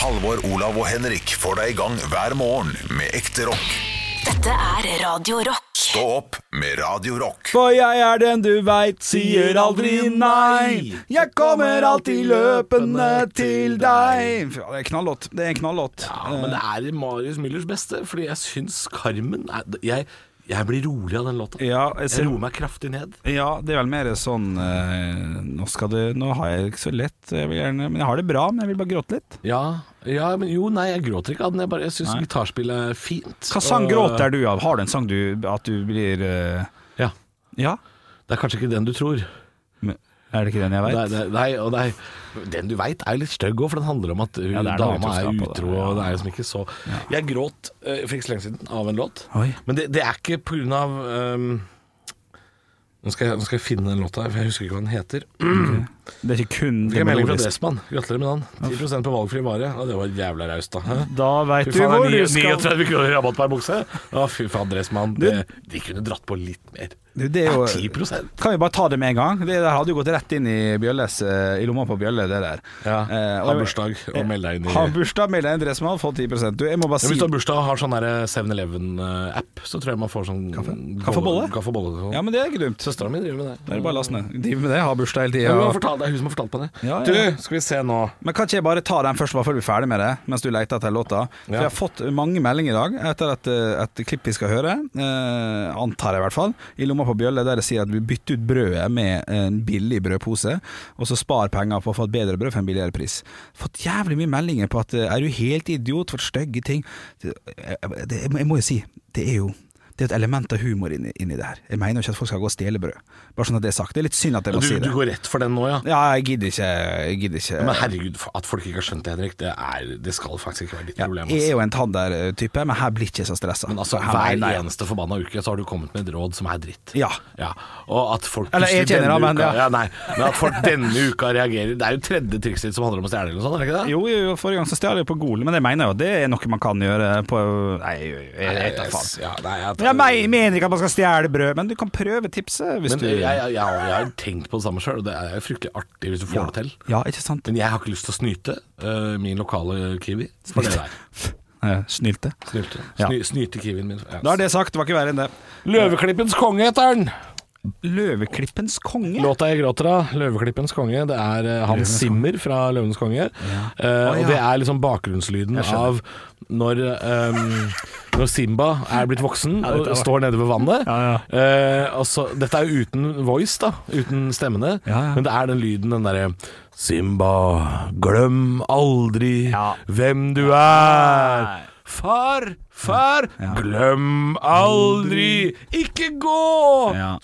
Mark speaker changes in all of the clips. Speaker 1: Halvor, Olav og Henrik får deg i gang hver morgen med ekte rock.
Speaker 2: Dette er Radio Rock.
Speaker 1: Stå opp med Radio Rock.
Speaker 3: For jeg er den du veit, sier aldri nei. Jeg kommer alltid løpende til deg. Fy, Det er knallåt. Det er en knallåt.
Speaker 4: Ja, men det er Marius Müllers beste, fordi jeg syns Carmen er, jeg, jeg blir rolig av den låta.
Speaker 3: Ja, jeg
Speaker 4: Jeg
Speaker 3: ser,
Speaker 4: roer meg kraftig ned.
Speaker 3: ja, det er vel mer sånn eh, Nå skal du Nå har jeg det ikke så lett. Jeg vil gjerne, men jeg har det bra, men jeg vil bare gråte litt.
Speaker 4: Ja, ja men jo, nei, jeg gråter ikke av den. Jeg, bare- jeg syns gitarspillet er fint.
Speaker 3: Hva sang
Speaker 4: Og-
Speaker 3: gråter du av? Har du en sang du At du blir eh,
Speaker 4: Ja,
Speaker 3: Ja?
Speaker 4: Det er kanskje ikke den du tror.
Speaker 3: Men Er det ikke den jeg
Speaker 4: Nei,
Speaker 3: veit?
Speaker 4: nei, nei, og nei, den du veit er jo litt stygg òg, for den handler om at uh,
Speaker 3: det er noe
Speaker 4: dama er
Speaker 3: utroskap på det,
Speaker 4: utro.
Speaker 3: ja.
Speaker 4: Og det er liksom ikke så Jeg gråt uh, for ikke så lenge siden av en låt,
Speaker 3: Oi.
Speaker 4: men det, det er ikke på grunn av um, nå, skal jeg, nå skal jeg finne den låta, her, for jeg husker ikke hva den heter.
Speaker 3: Det er ikke kun
Speaker 4: Fikk jeg melding fra
Speaker 3: melodiske.
Speaker 4: Dressmann. Gratulerer med dagen. 10 på valgfri vare. Og det var jævla raust, da. Hæ?
Speaker 3: Da veit
Speaker 4: Fy
Speaker 3: du
Speaker 4: faen,
Speaker 3: hvor
Speaker 4: det
Speaker 3: du
Speaker 4: er ni-
Speaker 3: skal
Speaker 4: 39 kroner rabatt per bukse. Å, fy faen, Dressmann. Det, de kunne dratt på litt mer.
Speaker 3: Du, Det er
Speaker 4: Ja,
Speaker 3: jo
Speaker 4: 10
Speaker 3: Kan vi bare ta det med en gang? Det der hadde jo gått rett inn i Bjølles eh, I lomma på Bjølle, det der.
Speaker 4: Ja.
Speaker 3: Eh, og-
Speaker 4: Ha bursdag og meld deg inn i
Speaker 3: Ha bursdag, meld deg inn i Dressmann, få 10 Du, jeg må bare
Speaker 4: Ja,
Speaker 3: si
Speaker 4: hvis du har bursdag og har sånn der 7-Eleven-app, så tror jeg man får sånn Kaffe,
Speaker 3: Kaffebolle?
Speaker 4: Kaffe og bolle.
Speaker 3: Ja, men det er ikke dumt.
Speaker 4: Søstera mi driver med det.
Speaker 3: Det er bare å laste ned. Driver med det, har bursdag hele
Speaker 4: Ja, hun har
Speaker 3: tida.
Speaker 4: fortalt, det er hun som har fortalt meg det.
Speaker 3: Ja, ja.
Speaker 4: Du, skal vi se nå.
Speaker 3: Men kan ikke jeg bare ta den først, bare før vi er ferdig med det, mens du leter etter låta? For
Speaker 4: Ja.
Speaker 3: jeg har fått mange meldinger i dag etter et, eh, et klipp vi skal høre, eh, antar jeg i hvert fall, i lomma på Bjølle, der det sier at vi bytter ut brødet med en billig brødpose, og så spar penger på å få et bedre brød for en billigere pris. Fått jævlig mye meldinger på at eh, er du helt idiot for stygge ting? Det, jeg- det, jeg må jo si, det er jo det er et element av humor inni, inni det her. Jeg mener jo ikke at folk skal gå og stjele brød. Bare sånn at det er sagt. Det er litt synd at jeg
Speaker 4: Du,
Speaker 3: må si
Speaker 4: du
Speaker 3: det.
Speaker 4: går rett for den nå, ja?
Speaker 3: Ja, jeg gidder ikke. Jeg gidder ikke.
Speaker 4: Men herregud, at folk ikke har skjønt det, Henrik, det, er, det skal faktisk ikke være ditt
Speaker 3: Ja,
Speaker 4: problem. ass.
Speaker 3: jeg er jo en tander-type, men her blir ikke jeg så stressa.
Speaker 4: altså. Men altså,
Speaker 3: her
Speaker 4: hver
Speaker 3: mener jeg-
Speaker 4: eneste forbanna uke så har du kommet med et råd som er dritt.
Speaker 3: Ja.
Speaker 4: Ja, Og at folk
Speaker 3: Eller jeg
Speaker 4: plutselig
Speaker 3: kjenner ham,
Speaker 4: denne
Speaker 3: men ja.
Speaker 4: uka, ja. nei, Men at folk denne uka reagerer Det er jo tredje trikset ditt som handler om å stjele eller noe sånt, er det ikke det?
Speaker 3: Jo, jo, jo, forrige gang så stjal jeg på Gol, men jeg mener jo det er noe man kan gjøre på Nei, jeg- jeg vet da faen.
Speaker 4: Ja, nei, jeg,
Speaker 3: Jeg me- mener ikke at man skal stjele brød, men du kan prøve tipset hvis
Speaker 4: men
Speaker 3: du
Speaker 4: jeg, jeg, jeg, jeg har tenkt på det samme sjøl, og det er jo fryktelig artig hvis du får det til.
Speaker 3: Ja, ikke sant?
Speaker 4: Men jeg har ikke lyst til å snyte øh, min lokale Kiwi for det der.
Speaker 3: Eh, Snylte.
Speaker 4: Snylte,
Speaker 3: Ja.
Speaker 4: Sny, snyte Kiwien min. Ja.
Speaker 3: Da er det sagt, det var ikke verre enn det.
Speaker 4: Løveklippens konge heter den!
Speaker 3: Løveklippens konge?
Speaker 4: Låta jeg gråter av, 'Løveklippens konge', det er eh, Hans Zimmer fra 'Løvenes konge'. Eh,
Speaker 3: Å, ja.
Speaker 4: Og det er liksom bakgrunnslyden av når, ehm, når Simba er blitt voksen og
Speaker 3: dette var-
Speaker 4: står nede ved vannet.
Speaker 3: Ja,
Speaker 4: Eh, og så- dette er jo uten voice, da. Uten stemmene.
Speaker 3: Ja, ja.
Speaker 4: Men det er den lyden, den derre Simba, glem aldri
Speaker 3: Ja.
Speaker 4: hvem du er. Far, far, glem aldri, ikke gå!
Speaker 3: Ja.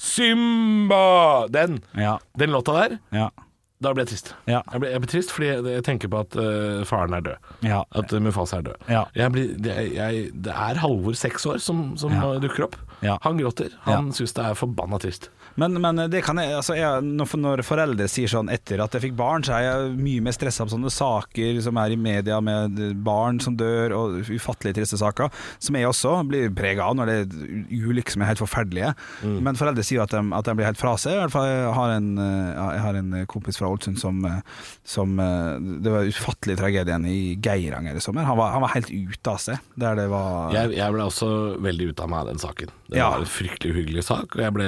Speaker 4: Simba! Den.
Speaker 3: Ja,
Speaker 4: Den låta der,
Speaker 3: ja,
Speaker 4: da ble jeg trist.
Speaker 3: Ja.
Speaker 4: Jeg, ble, jeg ble trist fordi jeg, jeg tenker på at eh, faren er død.
Speaker 3: ja.
Speaker 4: At eh, Mufasa er død.
Speaker 3: Ja.
Speaker 4: Jeg blir, det, jeg, det er Halvor seks år som, som
Speaker 3: Ja.
Speaker 4: dukker opp.
Speaker 3: Ja.
Speaker 4: Han gråter. Han syns det er forbanna trist.
Speaker 3: Men, men det kan jeg, altså jeg, når, når foreldre sier sånn etter at jeg fikk barn, så er jeg mye mer stressa på sånne saker som er i media med barn som dør og ufattelig triste saker, som jeg også blir prega av når det er ulykker som er helt forferdelige.
Speaker 4: Mm.
Speaker 3: Men foreldre sier jo at de, at de blir helt fra seg. I hvert fall jeg har en, eh, jeg har en kompis fra Ålesund som, eh, som eh, Det var ufattelig tragedien i Geiranger i sommer. Han var, han var helt ute av seg. Der det var
Speaker 4: Jeg, jeg ble også veldig ute av meg av den saken. Det
Speaker 3: Ja.
Speaker 4: var en fryktelig uhyggelig sak, og jeg ble,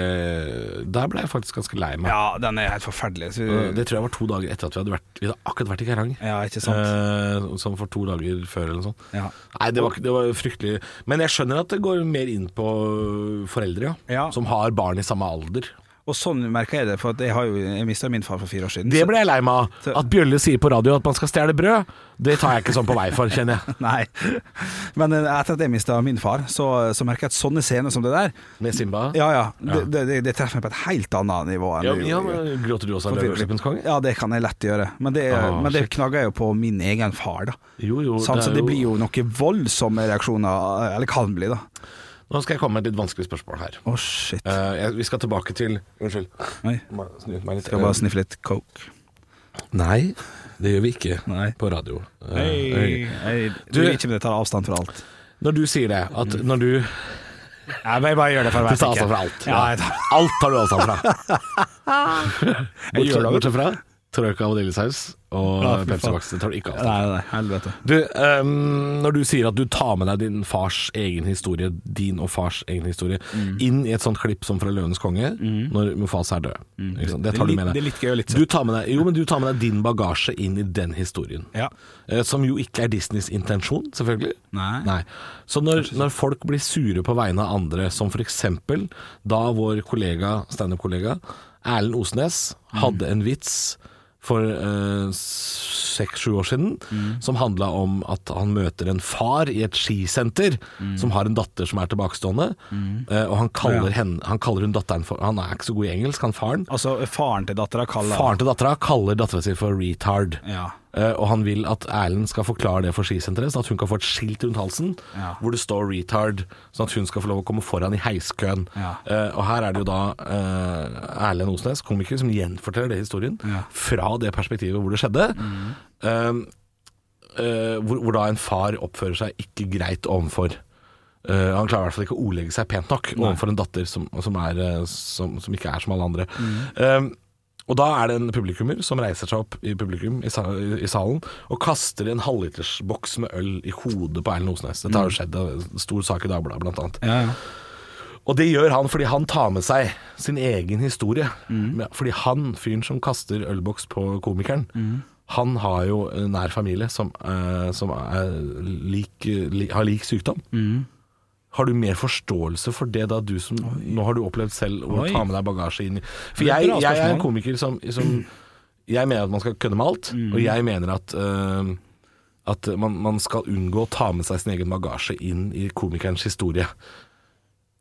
Speaker 4: der ble jeg faktisk ganske lei meg.
Speaker 3: Ja, den er helt forferdelig. Så,
Speaker 4: Det tror jeg var to dager etter at vi hadde, vært, vi hadde akkurat vært i Geiranger.
Speaker 3: ja, ikke sant.
Speaker 4: Eh, som for to dager før eller noe sånt.
Speaker 3: Ja.
Speaker 4: Nei, det var, ikke- det var fryktelig. Men jeg skjønner at det går mer inn på øh, foreldre, ja.
Speaker 3: Ja.
Speaker 4: Som har barn i samme alder.
Speaker 3: Og sånn merka jeg det, for at jeg, har jo, jeg mista min far for fire år siden.
Speaker 4: Det ble jeg lei meg av. At Bjølle sier på radio at man skal stjele brød, det tar jeg ikke sånn på vei for, kjenner jeg.
Speaker 3: så, nei. Men eh, etter at jeg mista min far, så, så merka jeg at sånne scener som det der
Speaker 4: Med Simba.
Speaker 3: Ja ja, det, det, det, det treffer meg på et helt annet nivå. Enn
Speaker 4: Ja,
Speaker 3: det
Speaker 4: ja,
Speaker 3: gjorde.
Speaker 4: men Gråter du også av Løveklippens konge?
Speaker 3: Ja, det kan jeg lett gjøre. Men det,
Speaker 4: Ah,
Speaker 3: men det
Speaker 4: shit.
Speaker 3: knagger jeg jo på min egen far, da.
Speaker 4: Jo, jo,
Speaker 3: sånn,
Speaker 4: det
Speaker 3: så
Speaker 4: er
Speaker 3: det
Speaker 4: jo-
Speaker 3: blir jo noen voldsomme reaksjoner. Eller kan bli, da.
Speaker 4: Nå skal jeg komme med et litt vanskelig spørsmål her.
Speaker 3: Å, shit.
Speaker 4: Eh, jeg, vi skal tilbake til Unnskyld.
Speaker 3: Oi.
Speaker 4: Må jeg snu meg litt.
Speaker 3: Skal jeg bare sniffe litt coke.
Speaker 4: Nei, det gjør vi ikke
Speaker 3: Nei.
Speaker 4: på radio. Eh,
Speaker 3: du vil ikke men jeg tar avstand fra alt.
Speaker 4: Når du sier det,
Speaker 3: Mm.
Speaker 4: at når du
Speaker 3: Nei, men jeg bare gjør det for å
Speaker 4: Du
Speaker 3: være sikker.
Speaker 4: tar avstand fra altså alt.
Speaker 3: Ja, jeg tar
Speaker 4: Alt tar du avstand fra.
Speaker 3: Jeg gjør det.
Speaker 4: Bortsett fra Troika vaniljesaus og
Speaker 3: Ja, fy faen.
Speaker 4: pepsivaks. Det tar du ikke
Speaker 3: Nei,
Speaker 4: av.
Speaker 3: nei, nei, helvete.
Speaker 4: Du, ehm, når du sier at du tar med deg din fars egen historie, din og fars egen historie, inn i et sånt klipp som fra 'Løvenes konge', når Mufasa er død. Ikke sant? Mm. Det tar
Speaker 3: Det er
Speaker 4: du med
Speaker 3: litt-
Speaker 4: deg.
Speaker 3: det er litt gøy og litt
Speaker 4: du tar med deg, jo, men du tar med deg din bagasje inn i den historien.
Speaker 3: Ja.
Speaker 4: Eh, Som jo ikke er Disneys intensjon, selvfølgelig.
Speaker 3: Nei.
Speaker 4: Så når, når folk blir sure på vegne av andre, som f.eks. da vår kollega, standup-kollega Erlend Osnes
Speaker 3: Mm.
Speaker 4: hadde en vits for seks-sju år siden
Speaker 3: Mm.
Speaker 4: som handla om at han møter en far i et skisenter som har en datter som er tilbakestående, eh, og han kaller,
Speaker 3: Mm. Ja.
Speaker 4: henne, han kaller hun datteren for Han er ikke så god i engelsk, han faren.
Speaker 3: Altså, faren til dattera kaller
Speaker 4: Faren til dattera kaller dattera si for retard.
Speaker 3: Ja.
Speaker 4: Eh, og han vil at Erlend skal forklare det for skisenteret, sånn at hun kan få et skilt rundt halsen
Speaker 3: Ja.
Speaker 4: hvor det står 'retard', sånn at hun skal få lov å komme foran i heiskøen.
Speaker 3: Ja.
Speaker 4: Eh, og her er det jo da eh, Erlend Osnes, komiker, som gjenforteller det historien
Speaker 3: Ja. Mm.
Speaker 4: fra det perspektivet hvor det skjedde. Eh, eh, hvor, hvor da en far oppfører seg ikke greit overfor Eh, han klarer i hvert fall ikke å ordlegge seg pent nok overfor en datter som, som, er, eh, som, som ikke er som alle andre.
Speaker 3: Mm.
Speaker 4: Eh, og da er det en publikummer som reiser seg opp i publikum i, sa, i salen og kaster en halvlitersboks med øl i hodet på Erlend Osnes. Dette har
Speaker 3: Mm.
Speaker 4: jo skjedd, det er en stor sak i Dagbladet blant annet.
Speaker 3: Ja, ja.
Speaker 4: Og det gjør han fordi han tar med seg sin egen historie. Men- Fordi han, fyren som kaster ølboks på komikeren, han har jo en nær familie som, eh, som er lik, li, har lik sykdom. Har du mer forståelse for det da, du som Nå har du opplevd selv å
Speaker 3: Oi.
Speaker 4: ta med deg bagasje inn i For
Speaker 3: Det er et
Speaker 4: jeg,
Speaker 3: bra
Speaker 4: jeg er en
Speaker 3: spørsmål.
Speaker 4: komiker som, som Jeg mener at man skal kødde med alt,
Speaker 3: Mm.
Speaker 4: og jeg mener at eh, at man, man skal unngå å ta med seg sin egen bagasje inn i komikerens historie.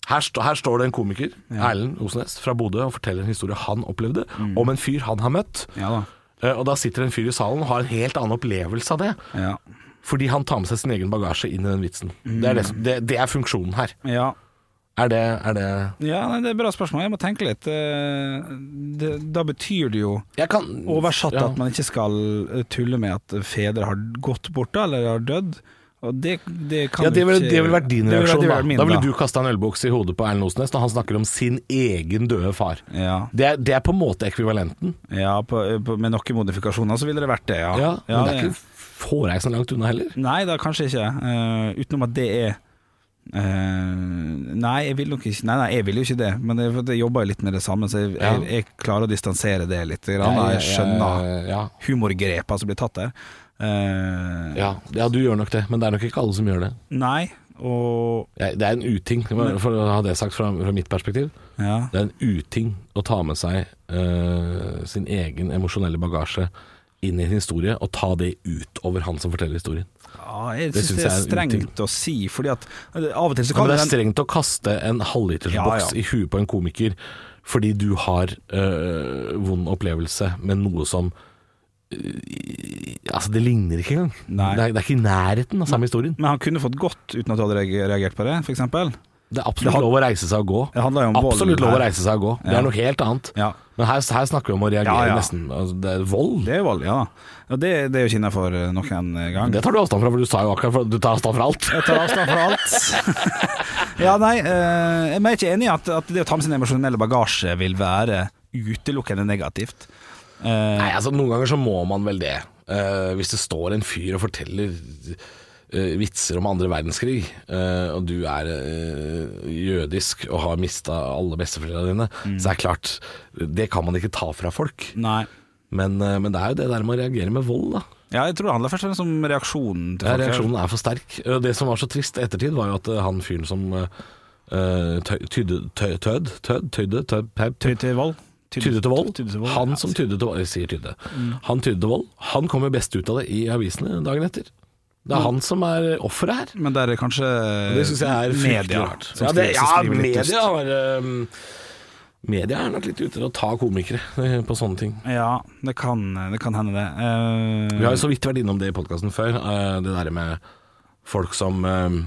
Speaker 4: Her, sto- her står det en komiker, Erlend Osnes, fra Bodø, og forteller en historie han opplevde,
Speaker 3: Mm.
Speaker 4: om en fyr han har møtt.
Speaker 3: ja da.
Speaker 4: Eh, Og da sitter en fyr i salen og har en helt annen opplevelse av det.
Speaker 3: Ja.
Speaker 4: Fordi han tar med seg sin egen bagasje inn i den vitsen. Det, er det, som- det, det er funksjonen her.
Speaker 3: ja.
Speaker 4: Er det, er det
Speaker 3: ja nei, det er et bra spørsmål. Jeg må tenke litt. Eh, Det, da betyr det jo
Speaker 4: jeg kan,
Speaker 3: Oversatt
Speaker 4: ja.
Speaker 3: at man ikke skal eh, tulle med at fedre har gått bort da, eller har dødd. Og det, det kan
Speaker 4: Ja, det
Speaker 3: du
Speaker 4: ville
Speaker 3: ikke-
Speaker 4: det ville vært din
Speaker 3: det ville vært- det
Speaker 4: reaksjon, da.
Speaker 3: ville vært min,
Speaker 4: Da ville du kasta en ølboks i hodet på Erlend Osnes når han snakker om sin egen døde far.
Speaker 3: ja,
Speaker 4: Det er, det er på en måte ekvivalenten.
Speaker 3: ja på, på, med noen modifikasjoner så ville det vært det, ja.
Speaker 4: Ja, men det
Speaker 3: det-
Speaker 4: er ikke hårreisende langt unna heller.
Speaker 3: Nei da, kanskje ikke. Eh, utenom at det er eh, Nei, jeg vil nok ikke Nei, nei, jeg vil jo ikke det, men jeg, jeg jobber jo litt med det samme, så jeg,
Speaker 4: Ja.
Speaker 3: jeg, jeg klarer å distansere det litt. Grann, da. jeg skjønner
Speaker 4: Ja,
Speaker 3: humorgrepa som blir tatt der. Eh,
Speaker 4: ja, ja, du gjør nok det, men det er nok ikke alle som gjør det.
Speaker 3: Nei, og
Speaker 4: Jeg- Det er en uting, for å ha det sagt fra, fra mitt perspektiv.
Speaker 3: Ja.
Speaker 4: Det er en uting å ta med seg eh, sin egen emosjonelle bagasje inn i en historie, og ta det utover han som forteller historien.
Speaker 3: Ja, jeg
Speaker 4: Det
Speaker 3: syns
Speaker 4: synes
Speaker 3: det er
Speaker 4: jeg er en uting.
Speaker 3: strengt å si, fordi at av og til så
Speaker 4: Ja,
Speaker 3: kan
Speaker 4: men det er
Speaker 3: den-
Speaker 4: strengt å kaste en halvlitersboks
Speaker 3: Ja, ja.
Speaker 4: i huet på en komiker fordi du har øh, vond opplevelse med noe som øh, Altså, det ligner ikke engang.
Speaker 3: Nei.
Speaker 4: Det er, det er ikke i nærheten av samme historien.
Speaker 3: Men han kunne fått godt uten at du hadde reag- reagert på det, f.eks.
Speaker 4: Det er
Speaker 3: Det
Speaker 4: absolutt
Speaker 3: han-
Speaker 4: lov å reise seg og gå.
Speaker 3: Det handler jo om vold
Speaker 4: absolutt lov å
Speaker 3: her.
Speaker 4: reise seg og gå. Det
Speaker 3: Ja.
Speaker 4: er noe helt annet.
Speaker 3: Ja.
Speaker 4: Men her, her snakker vi om å
Speaker 3: Ja,
Speaker 4: reagere
Speaker 3: ja.
Speaker 4: nesten altså, Det er vold.
Speaker 3: Det er jo vold, ja. Og det, det er jo ikke innafor noen gang.
Speaker 4: Det tar du avstand fra, for du sa jo akkurat for du tar avstand fra alt.
Speaker 3: Jeg tar avstand fra alt. ja, nei, eh, men jeg er ikke enig i at, at det å ta med sin emosjonelle bagasje vil være utelukkende negativt. Eh,
Speaker 4: Nei, altså Noen ganger så må man vel det. Eh, hvis det står en fyr og forteller eh, vitser om andre verdenskrig, eh, og du er eh, jødisk og har mista alle besteforeldrene dine, så er det klart Det kan man ikke ta fra folk.
Speaker 3: nei.
Speaker 4: Men, eh, men det er jo det der med å reagere med vold, da.
Speaker 3: Ja, jeg tror det handler først og fremst om reaksjonen til
Speaker 4: Ja,
Speaker 3: folk.
Speaker 4: reaksjonen er for sterk. Eh, Det som var så trist i ettertid, var jo at eh, han fyren som eh, eh, tøy- tydde tøy- Tøyd? Tøyd? Tøyde? Tøyd? Pep?
Speaker 3: Ty- til vold. Ty-
Speaker 4: Tydde til vold.
Speaker 3: Tydde til vold.
Speaker 4: Han som tydde til vold, jeg sier tydde. Han tydde til vold. Han kommer best ut av det i avisene dagen etter. Det
Speaker 3: Mm.
Speaker 4: er han som er offeret her.
Speaker 3: Men der er kanskje
Speaker 4: Det syns jeg er fryktelig
Speaker 3: media
Speaker 4: rart.
Speaker 3: som
Speaker 4: Ja, det,
Speaker 3: skriver-
Speaker 4: ja
Speaker 3: som skriver litt
Speaker 4: media
Speaker 3: dust.
Speaker 4: har ehm, Media er nok litt ute til å ta komikere eh, på sånne ting.
Speaker 3: Ja, det kan, det kan hende det. Eh,
Speaker 4: Vi har jo så vidt vært innom det i podkasten før, eh, det derre med folk som ehm,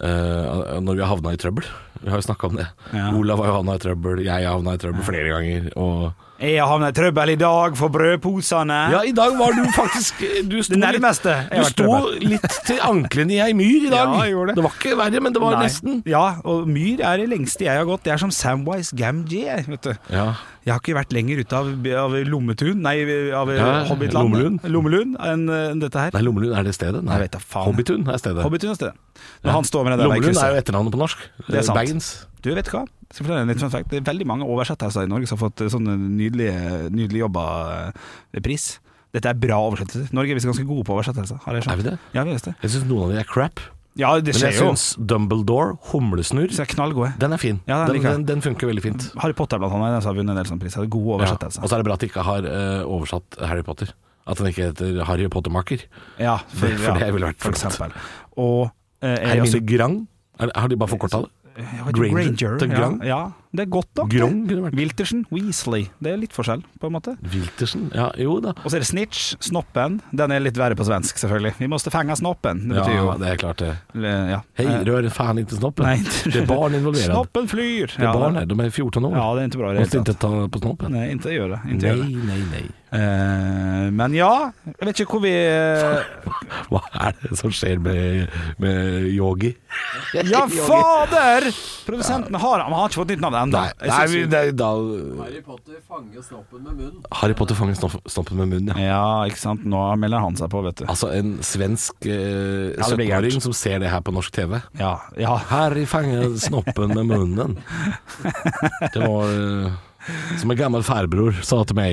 Speaker 4: eh, Når vi har havna i trøbbel. Vi har jo snakka om det.
Speaker 3: Ja.
Speaker 4: Olav har jo havna i trøbbel, jeg har havna i trøbbel flere ganger. Og
Speaker 3: Jeg har havnet i trøbbel i dag for brødposene.
Speaker 4: Ja, i dag var du faktisk eh, du sto
Speaker 3: Det nærmeste jeg
Speaker 4: litt-
Speaker 3: har vært
Speaker 4: Du sto
Speaker 3: drømmen.
Speaker 4: litt til ankelen i ei myr i dag.
Speaker 3: Ja, jeg gjorde det.
Speaker 4: det var ikke verre, men det var
Speaker 3: Nei.
Speaker 4: nesten.
Speaker 3: Ja, og myr er det lengste jeg har gått. Det er som Samwise Gamgee, vet du.
Speaker 4: Ja.
Speaker 3: Jeg har ikke vært lenger ute av, av Lommetun, nei, av
Speaker 4: Ja,
Speaker 3: Hobbitland
Speaker 4: Lommelun.
Speaker 3: Lommelun, enn eh, enn dette her.
Speaker 4: Nei, Lommelund er det stedet? Nei,
Speaker 3: Jeg vet da faen.
Speaker 4: Hobbitun er stedet.
Speaker 3: Hobbitun er stedet. Når han står med det der
Speaker 4: Lommelund er jo
Speaker 3: veikrysset.
Speaker 4: etternavnet på norsk.
Speaker 3: Det er sant.
Speaker 4: Baggins.
Speaker 3: Du, vet du hva? Jeg Skal fortelle en litt fun fact. Det er veldig mange oversettelser i Norge som har fått eh, sånne nydelige, nydelige jobber eh, pris. Dette er bra oversettelser. Norge er visst ganske gode på oversettelser, har jeg skjønt.
Speaker 4: Er vi det?
Speaker 3: Ja, vi er visst det.
Speaker 4: Jeg syns noen av de er crap.
Speaker 3: Ja, det
Speaker 4: Men
Speaker 3: skjer
Speaker 4: jeg
Speaker 3: jo.
Speaker 4: syns Dumbledore, Humlesnurr,
Speaker 3: Så jeg er knallgode.
Speaker 4: den er fin.
Speaker 3: Ja, den
Speaker 4: den,
Speaker 3: liker jeg. Mm.
Speaker 4: den, den funker veldig fint.
Speaker 3: Harry Potter blant annet, den som har vunnet en del sånne priser. God
Speaker 4: Ja. altså,
Speaker 3: oversettelse.
Speaker 4: Og så er det bra at de ikke har eh, oversatt Harry Potter. At den ikke heter Harry Pottermaker.
Speaker 3: Ja,
Speaker 4: for det ville vært
Speaker 3: for
Speaker 4: flott.
Speaker 3: eksempel. Og eh, er jeg
Speaker 4: Hermine
Speaker 3: også-
Speaker 4: Grang. Er, har de bare forkorta det?
Speaker 3: jeg vet ikke,
Speaker 4: Granger til
Speaker 3: ja,
Speaker 4: Grang.
Speaker 3: ja, det er godt nok. det.
Speaker 4: Grong kunne vært.
Speaker 3: Wiltersen, Weasley. Det er litt forskjell, på en måte.
Speaker 4: Wiltersen? Ja, jo da.
Speaker 3: Og så er det Snitch, Snoppen. Den er litt verre på svensk, selvfølgelig. Vi måste fanga Snoppen. Det betyr
Speaker 4: ja,
Speaker 3: jo
Speaker 4: det er klart det.
Speaker 3: eh, ja.
Speaker 4: Hei,
Speaker 3: Eh,
Speaker 4: rør faen ikke snoppen.
Speaker 3: Nei.
Speaker 4: Det er barn involvert.
Speaker 3: Snoppen flyr!
Speaker 4: Det er
Speaker 3: Ja,
Speaker 4: barn
Speaker 3: det-
Speaker 4: her, de er 14 år.
Speaker 3: Ja, det er ikke bra i det
Speaker 4: Måste
Speaker 3: hele
Speaker 4: inte
Speaker 3: tatt.
Speaker 4: ta på snoppen.
Speaker 3: Nei, ikke gjør det. Ikke
Speaker 4: Nei,
Speaker 3: gjør det.
Speaker 4: nei, nei.
Speaker 3: Eh, men ja, jeg vet ikke hvor vi eh,
Speaker 4: Hva er det som skjer med, med yogi?
Speaker 3: Ja, fader! Produsenten har, han har ikke fått nytt navn ennå.
Speaker 4: Nei, nei, vi, nei da,
Speaker 5: Harry Potter fanger snoppen med munnen.
Speaker 4: Harry Potter fanger snoff- snoppen med munnen, ja.
Speaker 3: Ja, ikke sant. Nå melder han seg på, vet du.
Speaker 4: Altså en svensk eh,
Speaker 3: Ja, det blir
Speaker 4: 17-åring som ser det her på norsk TV.
Speaker 3: Ja, ja.
Speaker 4: Harry fanger snoppen med munnen. Det var eh, som en gammel farbror sa til meg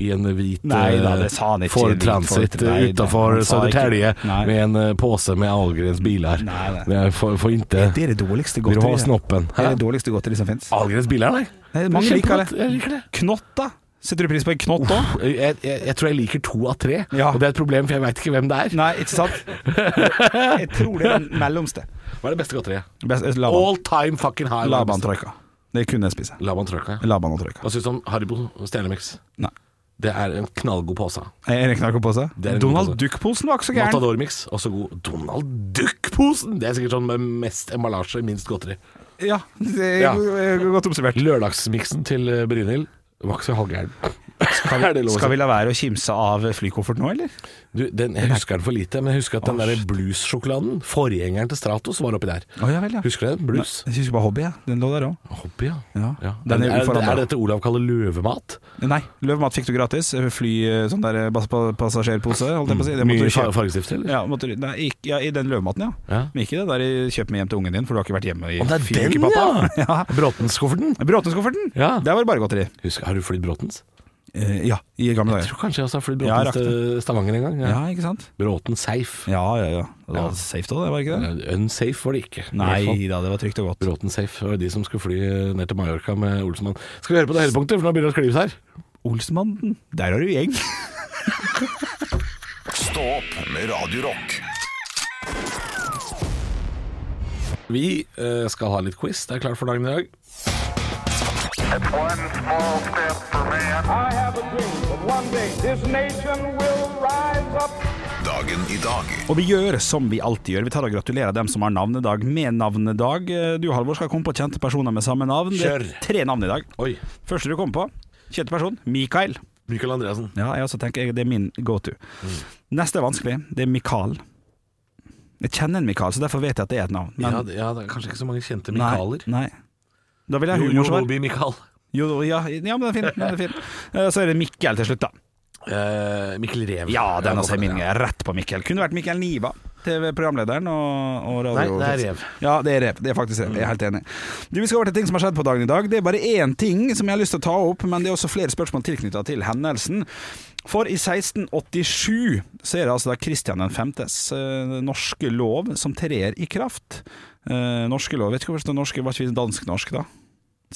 Speaker 4: i en hvit
Speaker 3: Nei da,
Speaker 4: eh,
Speaker 3: det sa han ikke.
Speaker 4: Ford
Speaker 3: Hvit
Speaker 4: Transit
Speaker 3: Ford, nei,
Speaker 4: utenfor
Speaker 3: han sa ikke-
Speaker 4: Södertälje
Speaker 3: Nei.
Speaker 4: med en eh, påse med Ahlgrens biler.
Speaker 3: Nei, nei.
Speaker 4: Jeg får, får ikke
Speaker 3: Det er det dårligste
Speaker 4: Vil du ha
Speaker 3: godteriet.
Speaker 4: snoppen?
Speaker 3: Det er
Speaker 4: Hæ?
Speaker 3: det dårligste godteriet som fins.
Speaker 4: Ahlgrens biler, nei.
Speaker 3: Mange liker
Speaker 4: Kjempegodt. Jeg
Speaker 3: det.
Speaker 4: liker det.
Speaker 3: Knott, da? Setter du pris på en knott òg?
Speaker 4: Jeg, jeg, jeg tror jeg liker to av tre,
Speaker 3: Ja.
Speaker 4: og det er et problem, for jeg veit ikke hvem det er.
Speaker 3: Nei, ikke sant? Jeg tror det er den mellomste.
Speaker 4: Hva er det beste godteriet?
Speaker 3: Best- eh, Laban.
Speaker 4: All time fucking high.
Speaker 3: Laban troika. Det kunne jeg spise.
Speaker 4: Laban Trøkka. ja.
Speaker 3: Laban og troika.
Speaker 4: Hva syns du om Haribo Stjernemix?
Speaker 3: Nei.
Speaker 4: Det er en knallgod pose.
Speaker 3: Er det knarkopose?
Speaker 4: Det er en
Speaker 3: Donald
Speaker 4: god pose.
Speaker 3: Duck-posen var ikke så gæren.
Speaker 4: Matador-mix, også god. Donald Duck-posen! Det er sikkert sånn med mest emballasje, minst godteri.
Speaker 3: Ja, det er
Speaker 4: Ja.
Speaker 3: go- godt oppsummert.
Speaker 4: Lørdagsmiksen til eh, Brynhild var ikke så halvgæren. Skal vi,
Speaker 3: Skal vi la være å kimse av flykofferten nå, eller?
Speaker 4: Du, den, jeg husker den for lite, men jeg husker at den der blues-sjokoladen, forgjengeren til Stratos, var oppi der.
Speaker 3: Å, ja vel, ja.
Speaker 4: Husker du den? Blues.
Speaker 3: Jeg husker bare hobby, jeg. Den lå der òg.
Speaker 4: Hobby, ja.
Speaker 3: Ja.
Speaker 4: Ja.
Speaker 3: Den er
Speaker 4: er, er,
Speaker 3: uforandret.
Speaker 4: dette Olav kaller løvemat?
Speaker 3: Nei, løvmat fikk du gratis. Fly sånn der bas- pa- passasjerpose, holdt jeg på å si. Det måtte du
Speaker 4: Mye fa-
Speaker 3: kjøpe.
Speaker 4: fargestift, eller?
Speaker 3: Ja, måtte, du- nei, ikke, ja, I den løvmaten, ja.
Speaker 4: Ja.
Speaker 3: Men ikke det der i- kjøp med hjem til ungen din, for du har ikke vært hjemme i
Speaker 4: Å, det
Speaker 3: fire
Speaker 4: er
Speaker 3: uker,
Speaker 4: den,
Speaker 3: pappa.
Speaker 4: ja!
Speaker 3: Ja.
Speaker 4: Bråtenskofferten.
Speaker 3: Bråtenskofferten!
Speaker 4: Ja.
Speaker 3: Der var det bare godteri.
Speaker 4: Husker, har du flydd Bråtens?
Speaker 3: Eh, ja, i gamle
Speaker 4: Jeg
Speaker 3: dager.
Speaker 4: tror kanskje jeg også har flydd
Speaker 3: Ja, jeg rakk
Speaker 4: Bråtens til Stavanger en gang. Ja.
Speaker 3: Ja, ikke sant?
Speaker 4: Bråten safe.
Speaker 3: Ja, ja, ja. Det var safe da, det var ikke det?
Speaker 4: Eh, Unsafe var det ikke. i hvert fall.
Speaker 3: Nei da, det var trygt og godt.
Speaker 4: Bråten safe var de som skulle fly eh, ned til Mallorca med Olsenmann. Skal vi høre på det høydepunktet, for nå begynner det å skli ut her.
Speaker 3: Olsenbanden, der har du gjeng.
Speaker 1: Stå opp med Radio Rock.
Speaker 4: Vi eh, skal ha litt quiz. Det er klart for dagen i dag.
Speaker 6: It's one small step for man.
Speaker 7: I have a dream that one day this nation will rise up.
Speaker 1: Dagen i dag.
Speaker 3: Og vi gjør som vi alltid gjør. Vi tar og gratulerer dem som har navnedag med navnedag. Eh, Du Halvor skal komme på kjente personer med samme navn. Det er
Speaker 4: Kjør.
Speaker 3: tre navn i dag.
Speaker 4: Oi.
Speaker 3: Første du kommer på, kjente person, Mikael.
Speaker 4: Michael Andreassen.
Speaker 3: Ja, jeg også tenker jeg, det er min go to.
Speaker 4: Mm.
Speaker 3: Neste er vanskelig, det er Mikael. Jeg kjenner en Mikael, så derfor vet jeg at det er et navn. Men-
Speaker 4: ja, det, ja, det er kanskje ikke så mange kjente
Speaker 3: nei,
Speaker 4: Michaeler.
Speaker 3: Nei. Da vil jeg ha
Speaker 4: Jo, jo,
Speaker 3: humorsvar.
Speaker 4: Bobby Michael.
Speaker 3: Jo, ja, ja, men det er fint. Det er fint. Eh, Så er det Mikkel til slutt, da.
Speaker 4: Eh, Mikkel Rev.
Speaker 3: Ja, den også er min.
Speaker 4: ja.
Speaker 3: Jeg er rett på Mikkel. Kunne vært Mikkel Niva, TV-programlederen og, og radio.
Speaker 4: Nei, det er Rev.
Speaker 3: Ja, det er Rev. Det er faktisk Rev. Jeg er helt enig. Du, Vi skal over til ting som har skjedd på dagen i dag. Det er bare én ting som jeg har lyst til å ta opp, men det er også flere spørsmål tilknytta til hendelsen. For i 1687 så er det altså da Kristian 5.s eh, norske lov som trer i kraft. Eh, norske lov, vet ikke hvorfor det står norske, var ikke vi dansk-norsk da?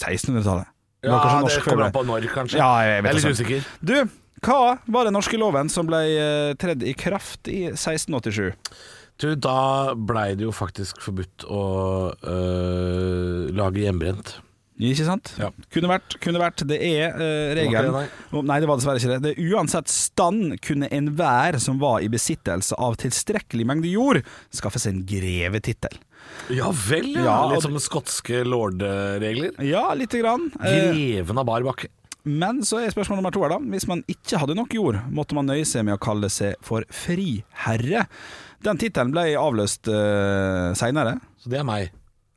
Speaker 3: 1600-tallet. Vi var kanskje
Speaker 4: Ja, det
Speaker 3: norsk før
Speaker 4: kommer
Speaker 3: vi
Speaker 4: an på når, kanskje.
Speaker 3: Ja, jeg vet
Speaker 4: er litt
Speaker 3: det sant.
Speaker 4: usikker.
Speaker 3: Du, hva var den norske loven som ble eh, tredd i kraft i 1687?
Speaker 4: Du, da blei det jo faktisk forbudt å øh, lage hjemmebrent.
Speaker 3: Ikke sant?
Speaker 4: Ja.
Speaker 3: Kunne vært, kunne vært. Det er eh,
Speaker 4: Det var
Speaker 3: regelen.
Speaker 4: ikke det,
Speaker 3: Å, nei, det var dessverre ikke det. det er uansett stand kunne enhver som var i besittelse av tilstrekkelig mengde jord, skaffe seg en grevetittel.
Speaker 4: Ja vel, ja.
Speaker 3: Ja, og-
Speaker 4: litt som skotske lordregler.
Speaker 3: Ja, lite grann. Eh,
Speaker 4: Greven av bar bakke.
Speaker 3: men så er spørsmål nummer to her, da. Hvis man ikke hadde nok jord, måtte man nøye seg med å kalle seg for friherre. Den tittelen ble avløst eh, seinere.
Speaker 4: Så det er meg.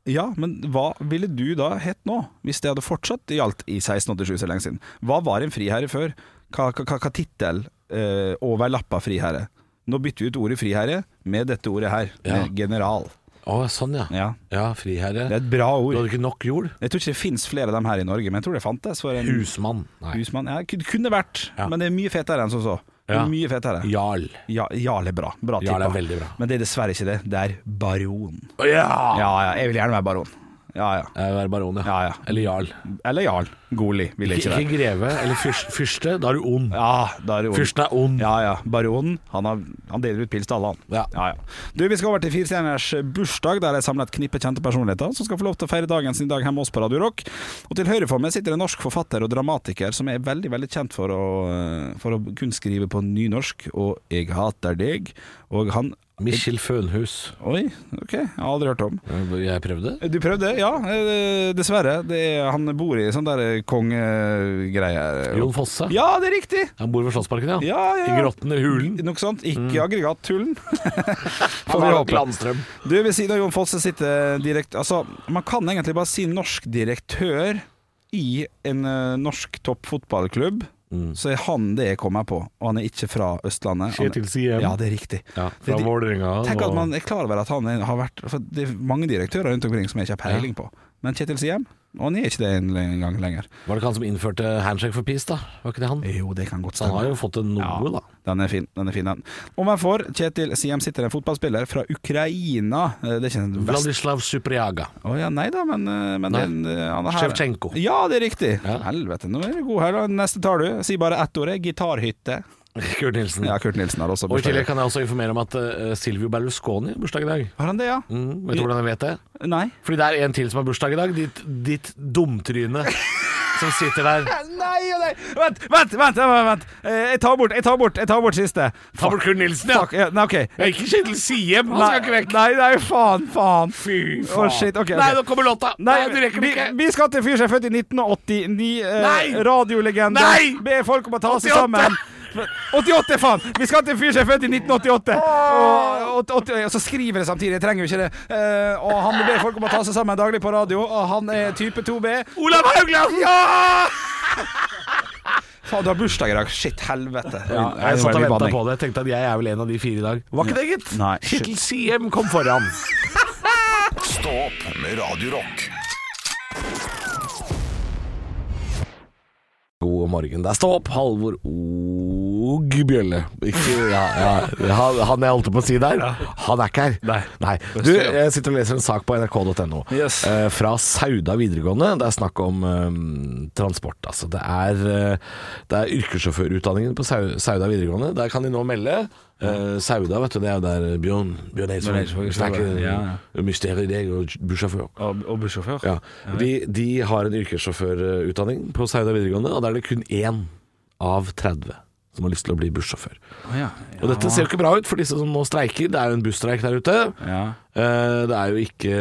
Speaker 3: Ja, men hva ville du da hett nå, hvis det hadde fortsatt gjaldt i 1687 så lenge siden? Hva var en friherre før? Hva, hva, hva- hva tittel eh, overlappa friherre? Nå bytter vi ut ordet friherre med dette ordet her,
Speaker 4: Ja.
Speaker 3: med general.
Speaker 4: Å, sånn ja.
Speaker 3: Ja.
Speaker 4: Ja, friherre.
Speaker 3: Det er et bra
Speaker 4: Du
Speaker 3: ord.
Speaker 4: hadde ikke nok jord?
Speaker 3: Jeg tror ikke det fins flere av dem her i Norge, men jeg tror det fantes. For en
Speaker 4: Husmann. Nei.
Speaker 3: husmann. Ja, det kunne vært,
Speaker 4: Ja.
Speaker 3: men det er mye fetere enn som så. Det er
Speaker 4: Ja.
Speaker 3: Mye fetere.
Speaker 4: Jarl.
Speaker 3: Ja, Jarl er bra. Bra
Speaker 4: Jarl er
Speaker 3: tippa.
Speaker 4: veldig bra.
Speaker 3: Men det er dessverre ikke det. Det er baron. Ja
Speaker 4: Ja!
Speaker 3: ja, jeg vil gjerne være baron. Ja ja.
Speaker 4: Jeg vil være baron, ja.
Speaker 3: Ja, ja.
Speaker 4: Eller jarl.
Speaker 3: Eller jarl. Goli vil jeg
Speaker 4: Ikke,
Speaker 3: ikke være.
Speaker 4: ikke greve eller fyrst, fyrste. Da er du ond.
Speaker 3: Ja, da er det ond.
Speaker 4: Fyrsten er ond.
Speaker 3: Ja, ja. Baronen, han, har, han deler ut pils til alle, han.
Speaker 4: Ja.
Speaker 3: Ja, ja. Du, vi skal over til Firestjerners bursdag, der jeg samler et knippe kjente personligheter som skal få lov til å feire dagen sin i dag hjemme hos oss på Radio Rock. Og til høyre for meg sitter en norsk forfatter og dramatiker som er veldig, veldig kjent for å, eh, for å kunne skrive på nynorsk, og 'Jeg hater deg', og han
Speaker 4: Mikkjel Fønhus.
Speaker 3: Oi, ok, jeg har aldri hørt om.
Speaker 4: Jeg prøvde.
Speaker 3: Du prøvde? Ja, eh, dessverre. Det er, han bor i sånn der kongegreier.
Speaker 4: Jon Fosse.
Speaker 3: Ja, det er riktig!
Speaker 4: Han bor ved Slottsparken, ja.
Speaker 3: Ja, ja, ja.
Speaker 4: I grotten i hulen.
Speaker 3: Noe sånt. Ikke
Speaker 4: Mm.
Speaker 3: aggregattullen. Får
Speaker 4: Han
Speaker 3: vi
Speaker 4: har
Speaker 3: håpe.
Speaker 4: Landstrøm.
Speaker 3: Du, ved siden av Jon Fosse sitter direkt... Altså, man kan egentlig bare si norsk direktør i en eh, norsk topp fotballklubb.
Speaker 4: Mm.
Speaker 3: Så er han det jeg kommer på, og han er ikke fra Østlandet. Han-
Speaker 4: Kjetil Siem.
Speaker 3: Ja, det er riktig.
Speaker 4: Ja,
Speaker 3: Det-
Speaker 4: fra
Speaker 3: det-
Speaker 4: Vålerenga.
Speaker 3: Tenk at
Speaker 4: og-
Speaker 3: man er klar over at han er- har vært For det er mange direktører rundt omkring som jeg ikke har peiling på. Men Kjetil Siem, og han er ikke det en- en gang lenger.
Speaker 4: Var det ikke han som innførte Handshake for peace, da? Var ikke det han?
Speaker 3: Jo, det kan godt
Speaker 4: Så han har jo fått til noe, da.
Speaker 3: Den er fin, den er fin den. Ovenfor Kjetil Siem sitter en fotballspiller fra Ukraina. Eh, Det er ikke en vest...
Speaker 4: Vladislav Supriaga.
Speaker 3: Å ja, nei da, men, eh, men
Speaker 4: Nei.
Speaker 3: den, eh, han er her.
Speaker 4: Shevchenko.
Speaker 3: Ja, det er riktig.
Speaker 4: Ja.
Speaker 3: Helvete, nå er du god her, da. Neste tar du. Si bare ett ord. eh. Gitarhytte.
Speaker 4: Kurt Nilsen.
Speaker 3: Ja, Kurt Nilsen har også
Speaker 4: Og I tillegg
Speaker 3: bursdag.
Speaker 4: kan jeg også informere om at eh, Silvio Berlusconi har bursdag i dag.
Speaker 3: Har han det, ja?
Speaker 4: Mm, vet du hvordan jeg vet det?
Speaker 3: Nei.
Speaker 4: Fordi det er en til som har bursdag i dag. Ditt, ditt dumtryne som sitter der.
Speaker 3: Nei og nei! Vent, vent, vent! vent, vent. Eh, Jeg tar bort, jeg tar bort, jeg tar bort siste.
Speaker 4: Ta bort Kurt Nilsen, ja!
Speaker 3: Fuck, ja, Nei, OK.
Speaker 4: Jeg er ikke Kjetil Siem, han skal ikke vekk.
Speaker 3: Nei, nei, faen, faen.
Speaker 4: Fy faen.
Speaker 3: Å, shit, ok, ok.
Speaker 4: Nei, nå kommer låta. Nei, du rekker det
Speaker 3: vi,
Speaker 4: ikke.
Speaker 3: vi skal til en fyr som er født i 1989. Eh,
Speaker 4: Nei!
Speaker 3: radiolegende.
Speaker 4: Nei!
Speaker 3: Be folk om å ta seg
Speaker 4: 88!
Speaker 3: sammen. 88, faen! Vi skal til en fyr som er født i 1988. Og, og, og, og så skriver det samtidig. Jeg trenger jo ikke det. Eh, og han ber folk om å ta seg sammen daglig på radio, og han er type 2B.
Speaker 4: Olav Haugland!
Speaker 3: Faen, du har bursdag i dag. Shit, helvete. Nei,
Speaker 4: jeg
Speaker 3: nå ble
Speaker 4: satt og
Speaker 3: det
Speaker 4: venta
Speaker 3: banning.
Speaker 4: på det. Jeg tenkte at jeg er vel en av de fire i dag. Var ikke det, gitt?
Speaker 3: Nei, shit.
Speaker 4: Kjetil Siem kom foran.
Speaker 1: Stå opp med Radio Rock.
Speaker 4: God morgen. Der står opp Halvor og Bjølle. Ikke, ja, ja. Han, han jeg holdt på å si der, han er ikke her.
Speaker 3: Nei.
Speaker 4: Du, jeg sitter og leser en sak på nrk.no
Speaker 3: Yes.
Speaker 4: eh, fra Sauda videregående. Det er snakk om eh, transport. Altså. Det, er, eh, det er yrkessjåførutdanningen på Sau Sauda videregående. Der kan de nå melde. Eh, Sauda, vet du, det er jo der Bjørn, Bjørn Eidsvåg
Speaker 3: Eidsvåg,
Speaker 4: snakker
Speaker 3: ja,
Speaker 4: mysteriet deg og bussjåfør.
Speaker 3: Og, og bussjåfør.
Speaker 4: Ja. De, de har en yrkessjåførutdanning på Sauda videregående, og da er det kun én av 30 som har lyst til å bli bussjåfør.
Speaker 3: Ja, ja.
Speaker 4: Og dette ser jo ikke bra ut for disse som nå streiker. Det er jo en busstreik der ute.
Speaker 3: Ja.
Speaker 4: Eh, Det er jo ikke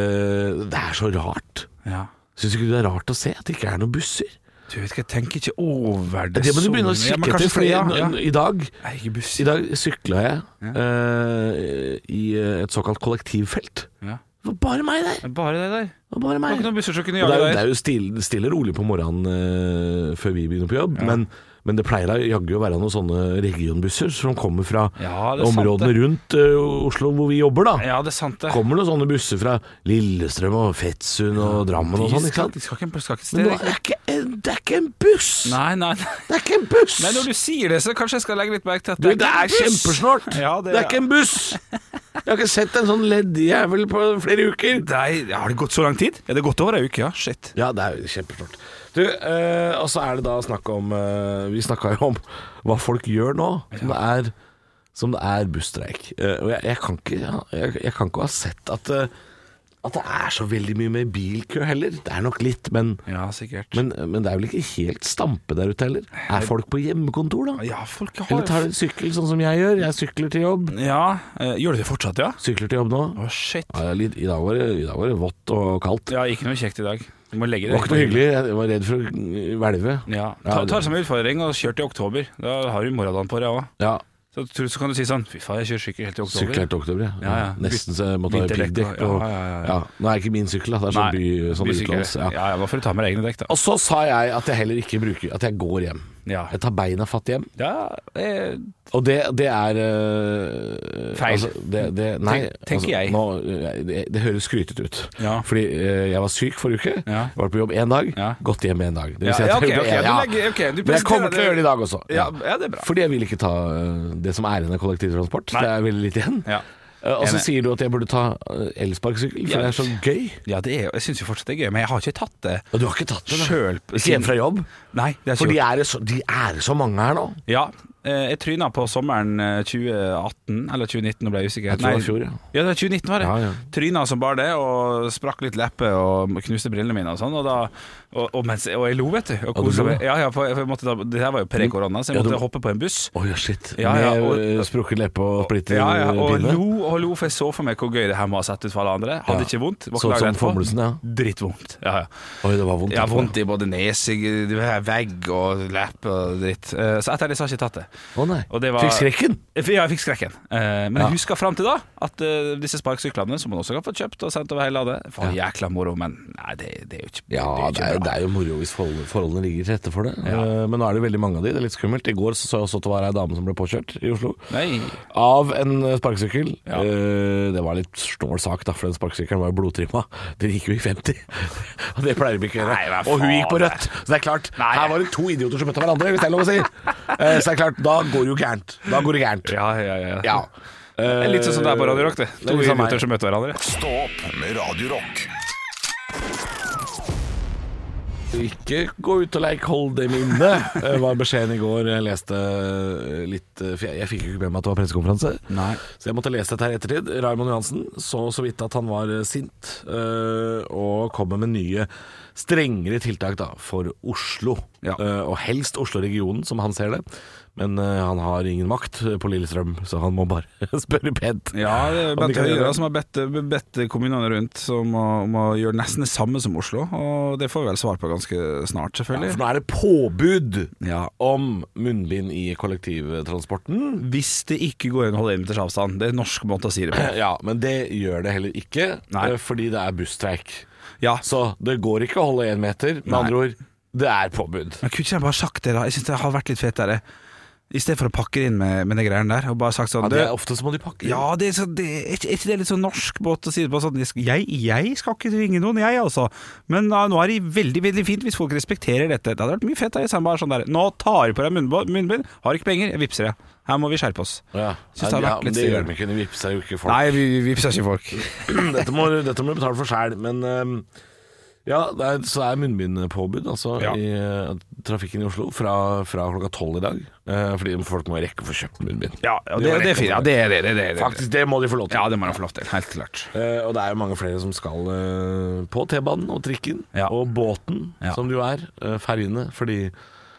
Speaker 4: Det er så rart.
Speaker 3: ja.
Speaker 4: Syns ikke du det er rart å se at det ikke er noen busser?
Speaker 3: Du vet ikke, jeg tenker ikke over det.
Speaker 4: Det må du begynne å
Speaker 3: så mye. Ja, men
Speaker 4: kikke
Speaker 3: kanskje
Speaker 4: etter, for
Speaker 3: skal- ja, ja.
Speaker 4: i dag
Speaker 3: Jeg er ikke buss.
Speaker 4: i dag sykla jeg eh, i et såkalt kollektivfelt.
Speaker 3: Ja.
Speaker 4: Det var bare meg der!
Speaker 3: Men bare det der.
Speaker 4: Det var
Speaker 3: Det
Speaker 4: bare
Speaker 3: var
Speaker 4: meg.
Speaker 3: ikke noen busser som kunne
Speaker 4: Og Det
Speaker 3: jage
Speaker 4: er, jo-
Speaker 3: deg.
Speaker 4: det er jo stille, stille og rolig på morgenen eh, før vi begynner på jobb, men, men det pleier da jaggu å være noen sånne regionbusser som kommer fra
Speaker 3: Ja, det er sant,
Speaker 4: områdene
Speaker 3: det.
Speaker 4: rundt eh, Oslo hvor vi jobber, da.
Speaker 3: Ja, det er sant det.
Speaker 4: Kommer noen sånne busser fra Lillestrøm og Fettsund og Drammen og
Speaker 3: de,
Speaker 4: sånn, ikke
Speaker 3: skal, de
Speaker 4: sant?
Speaker 3: skal ikke, skal ikke
Speaker 4: Men
Speaker 3: sted.
Speaker 4: nå, det, er ikke en, det er ikke en buss!
Speaker 3: Nei, nei, nei.
Speaker 4: Det er ikke en buss!
Speaker 3: Men når du sier det, så kanskje jeg skal legge litt merke til at
Speaker 4: Du, det
Speaker 3: ikke en
Speaker 4: er
Speaker 3: buss.
Speaker 4: kjempesnålt!
Speaker 3: Ja,
Speaker 4: det, er ikke en buss! Jeg har ikke sett en sånn leddjævel på flere uker.
Speaker 3: Nei, ja, har det gått så lang tid? Er det gått over ei uke, ja? Shit.
Speaker 4: Ja, det er jo kjempesnålt. Du, eh, og så er det da snakk om eh, Vi snakka jo om hva folk gjør nå, som det er, som det er busstreik. Eh, og jeg, jeg, kan ikke, jeg, jeg kan ikke ha sett at, eh, at det er så veldig mye med bilkø heller. Det er nok litt, men,
Speaker 3: Ja, sikkert.
Speaker 4: men, men det er vel ikke helt stampe der ute heller. Er folk på hjemmekontor, da?
Speaker 3: ja, folk har
Speaker 4: Eller tar de en sykkel, sånn som jeg gjør? Jeg sykler til jobb.
Speaker 3: Ja, eh, gjør du det fortsatt, ja?
Speaker 4: Sykler til jobb nå.
Speaker 3: Å, shit.
Speaker 4: Ja, det er litt, i, dag var det, I dag var det vått og kaldt.
Speaker 3: Ja, ikke noe kjekt i dag. Du må legge
Speaker 4: Det
Speaker 3: det.
Speaker 4: var ikke noe hyggelig. Jeg var redd for å hvelve.
Speaker 3: Ja, ta, tar det som en utfordring og kjør til oktober. Da har du morgendagen på deg òg.
Speaker 4: Ja,
Speaker 3: Så, tror du- så kan du si sånn Fy faen, jeg kjører sykkel helt til oktober.
Speaker 4: Sykkel helt til oktober, ja.
Speaker 3: Ja, ja.
Speaker 4: Nesten så jeg måtte ha
Speaker 3: Vinterdekk
Speaker 4: piggdekk på.
Speaker 3: og- ja, ja, ja, ja.
Speaker 4: Nå er ikke min sykkel, da. Det er
Speaker 3: Nei,
Speaker 4: sånn, by, sånn
Speaker 3: bysykkel.
Speaker 4: utlåns. Ja.
Speaker 3: ja, ja, da får du ta med deg egne dekk, da.
Speaker 4: Og så sa jeg at jeg heller ikke bruker At jeg går hjem.
Speaker 3: Ja.
Speaker 4: Jeg tar beina fatt hjem.
Speaker 3: Ja, eh,
Speaker 4: Og det, det er øh,
Speaker 3: Feil.
Speaker 4: det, det, nei,
Speaker 3: Tenk- tenker jeg.
Speaker 4: Nå, øh, det, det høres skrytete ut.
Speaker 3: Ja.
Speaker 4: Fordi øh, jeg var syk forrige uke.
Speaker 3: Ja.
Speaker 4: Var på jobb én dag,
Speaker 3: Ja.
Speaker 4: gått hjem én dag. Det
Speaker 3: Ja, ja,
Speaker 4: at jeg
Speaker 3: ok, ok,
Speaker 4: gjorde-
Speaker 3: du legger- ok, du
Speaker 4: Men jeg
Speaker 3: presenterer
Speaker 4: kommer til å
Speaker 3: det-
Speaker 4: gjøre det i dag også.
Speaker 3: ja, ja, det er bra.
Speaker 4: Fordi jeg vil ikke ta øh, det som er igjen av kollektivtransport.
Speaker 3: Nei.
Speaker 4: Det er veldig lite igjen.
Speaker 3: Ja.
Speaker 4: Eh, Og så
Speaker 3: Enig.
Speaker 4: sier du at jeg burde ta øh, elsparkesykkel, for
Speaker 3: Ja.
Speaker 4: det er så gøy.
Speaker 3: Ja, det er, jo- jeg syns jo fortsatt det er gøy, men jeg har ikke tatt det.
Speaker 4: Og du har ikke tatt det? da.
Speaker 3: Sjøl-
Speaker 4: Ikke hjemme fra jobb?
Speaker 3: Nei, det er
Speaker 4: For
Speaker 3: ikke
Speaker 4: de er, det så, de er det så mange her nå.
Speaker 3: Ja, eh, jeg tryna på sommeren eh, 2018 eller 2019 og ble usikker.
Speaker 4: Jeg tror det var fjor, ja.
Speaker 3: Ja, det var 2019 var det.
Speaker 4: Ja, ja.
Speaker 3: Tryna som bare det, og sprakk litt leppe og knuste brillene mine og sånn. Og, da, og, og, mens, og jeg lo, vet du. Og
Speaker 4: du
Speaker 3: kosa
Speaker 4: lo,
Speaker 3: meg. Ja, ja, for jeg, for jeg måtte, da- det her var jo pre-korona, så jeg
Speaker 4: Ja, du-
Speaker 3: måtte hoppe på en buss.
Speaker 4: Oi, shit.
Speaker 3: Ja, ja,
Speaker 4: Med
Speaker 3: og-
Speaker 4: øh, sprukket leppe og splitter
Speaker 3: Ja, ja, og
Speaker 4: pinne.
Speaker 3: lo og lo, for jeg så for meg hvor gøy det her må ha sett ut for alle andre. Hadde
Speaker 4: Ja.
Speaker 3: ikke vondt.
Speaker 4: Så ut
Speaker 3: dagen
Speaker 4: som
Speaker 3: etterpå.
Speaker 4: Fommelsen, ja.
Speaker 3: Drittvondt. Ja, ja.
Speaker 4: Oi, det var vondt. altså.
Speaker 3: Jeg har
Speaker 4: etterpå.
Speaker 3: vondt i både nese, vegg og leppe og dritt. Eh, Så etter det så har jeg ikke tatt det.
Speaker 4: Å nei.
Speaker 3: Og det var-
Speaker 4: Fikk skrekken?
Speaker 3: Ja, jeg fikk skrekken. Eh, men
Speaker 4: Ja.
Speaker 3: jeg husker fram til da at eh, disse sparkesyklene, som man også kan få kjøpt og sendt over hele landet Faen, jækla moro, men nei, det, det er jo ikke,
Speaker 4: Ja, det
Speaker 3: det
Speaker 4: er,
Speaker 3: er jo
Speaker 4: jo-
Speaker 3: ikke
Speaker 4: det er jo moro hvis forhold- forholdene ligger til rette for det. Eh, Men nå er det veldig mange av de, det er litt skummelt. I går så, så jeg også at det var ei dame som ble påkjørt i Oslo.
Speaker 3: bra. Nei.
Speaker 4: Av en eh, sparkesykkel.
Speaker 3: Ja.
Speaker 4: Eh, Det var litt snål sak, da, for den sparkesykkelen var jo blodtrimma. Den gikk jo i 50, og det pleier vi ikke å
Speaker 3: Nei, hva
Speaker 4: gjøre. Og hun gikk på
Speaker 3: faen,
Speaker 4: rødt, så det er klart. Her var det to idioter som møtte hverandre, hvis det er lov å si. Eh, Så det er klart, da går det jo gærent. Da går det gærent.
Speaker 3: Ja, ja, ja.
Speaker 4: Ja. Eh,
Speaker 3: Det er Litt sånn som det er på Radio Rock, det.
Speaker 4: Det er
Speaker 3: To
Speaker 4: litt som meg.
Speaker 3: idioter som møter hverandre.
Speaker 1: Stå opp med Radio Rock.
Speaker 4: Ikke gå ut og leik, hold dem inne, eh, var beskjeden i går. Jeg leste eh, litt eh, For jeg, jeg fikk jo ikke med meg at det var pressekonferanse,
Speaker 3: Nei.
Speaker 4: så jeg måtte lese dette her i ettertid. Raymond Johansen så så vidt at han var eh, sint, eh, og kommer med nye, strengere tiltak da for Oslo.
Speaker 3: Ja.
Speaker 4: Eh, Og helst Oslo-regionen, som han ser det. Men eh, han har ingen makt eh, på Lillestrøm, så han må bare spørre pent.
Speaker 3: Ja, det er
Speaker 4: Om de
Speaker 3: Bente
Speaker 4: kan gjøre
Speaker 3: Høyre
Speaker 4: det.
Speaker 3: som har bedt, bedt kommunene rundt om å, om å gjøre nesten det samme som Oslo, og det får vi vel svar på ganske snart,
Speaker 4: Ja, for
Speaker 3: selvfølgelig.
Speaker 4: nå er det påbud
Speaker 3: Ja.
Speaker 4: om munnbind i kollektivtransporten.
Speaker 3: Hvis det ikke går an å holde en meters avstand. Det er en norsk måte å si det på.
Speaker 4: Eh, Ja, men det gjør det heller ikke,
Speaker 3: Nei.
Speaker 4: eh, fordi det er busstreik.
Speaker 3: Ja.
Speaker 4: Så det går ikke å holde én meter. Med
Speaker 3: Nei.
Speaker 4: andre ord, det er påbud.
Speaker 3: Men kunne ikke jeg bare sagt det, da? Jeg syns det har vært litt fetere. I stedet for å pakke det inn med, med de greiene der, og bare sagt sånn
Speaker 4: Ja, det er
Speaker 3: «Du,
Speaker 4: ofte så må de pakke.
Speaker 3: ja, det er, så, det, er ikke- er ikke det litt sånn norsk båt å si det på? Sånn, jeg, jeg skal ikke ringe noen, jeg altså. Men ja, nå er det veldig veldig fint hvis folk respekterer dette. Det hadde vært mye fett da, hvis han bare sånn der Nå tar jeg på deg munnbå- munnbind, har ikke penger, jeg vippser deg. Her må vi skjerpe oss.
Speaker 4: Ja.
Speaker 3: Synes det har
Speaker 4: ja,
Speaker 3: vært
Speaker 4: men
Speaker 3: litt
Speaker 4: det gjør
Speaker 3: stilig.
Speaker 4: de ikke. De vipser jo ikke folk.
Speaker 3: Nei, vi vi vippser ikke folk.
Speaker 4: dette, må, dette må du betale for sjæl. Men ehm, ja, det er, så er munnbindpåbud altså,
Speaker 3: Ja.
Speaker 4: i eh, trafikken i Oslo fra, fra klokka tolv i dag. Eh, fordi folk må rekke å få kjøpt munnbind.
Speaker 3: Ja, og
Speaker 4: De må
Speaker 3: det, det er
Speaker 4: rekke å
Speaker 3: fint.
Speaker 4: få
Speaker 3: Ja, det er det. det, det, det.
Speaker 4: Faktisk, det må de få lov til.
Speaker 3: Ja, det må han få lov til. Helt klart.
Speaker 4: Eh, og det er jo mange flere som skal eh, på T-banen og trikken
Speaker 3: Ja.
Speaker 4: og båten,
Speaker 3: Ja.
Speaker 4: som det jo er. eh, ferjene, fordi,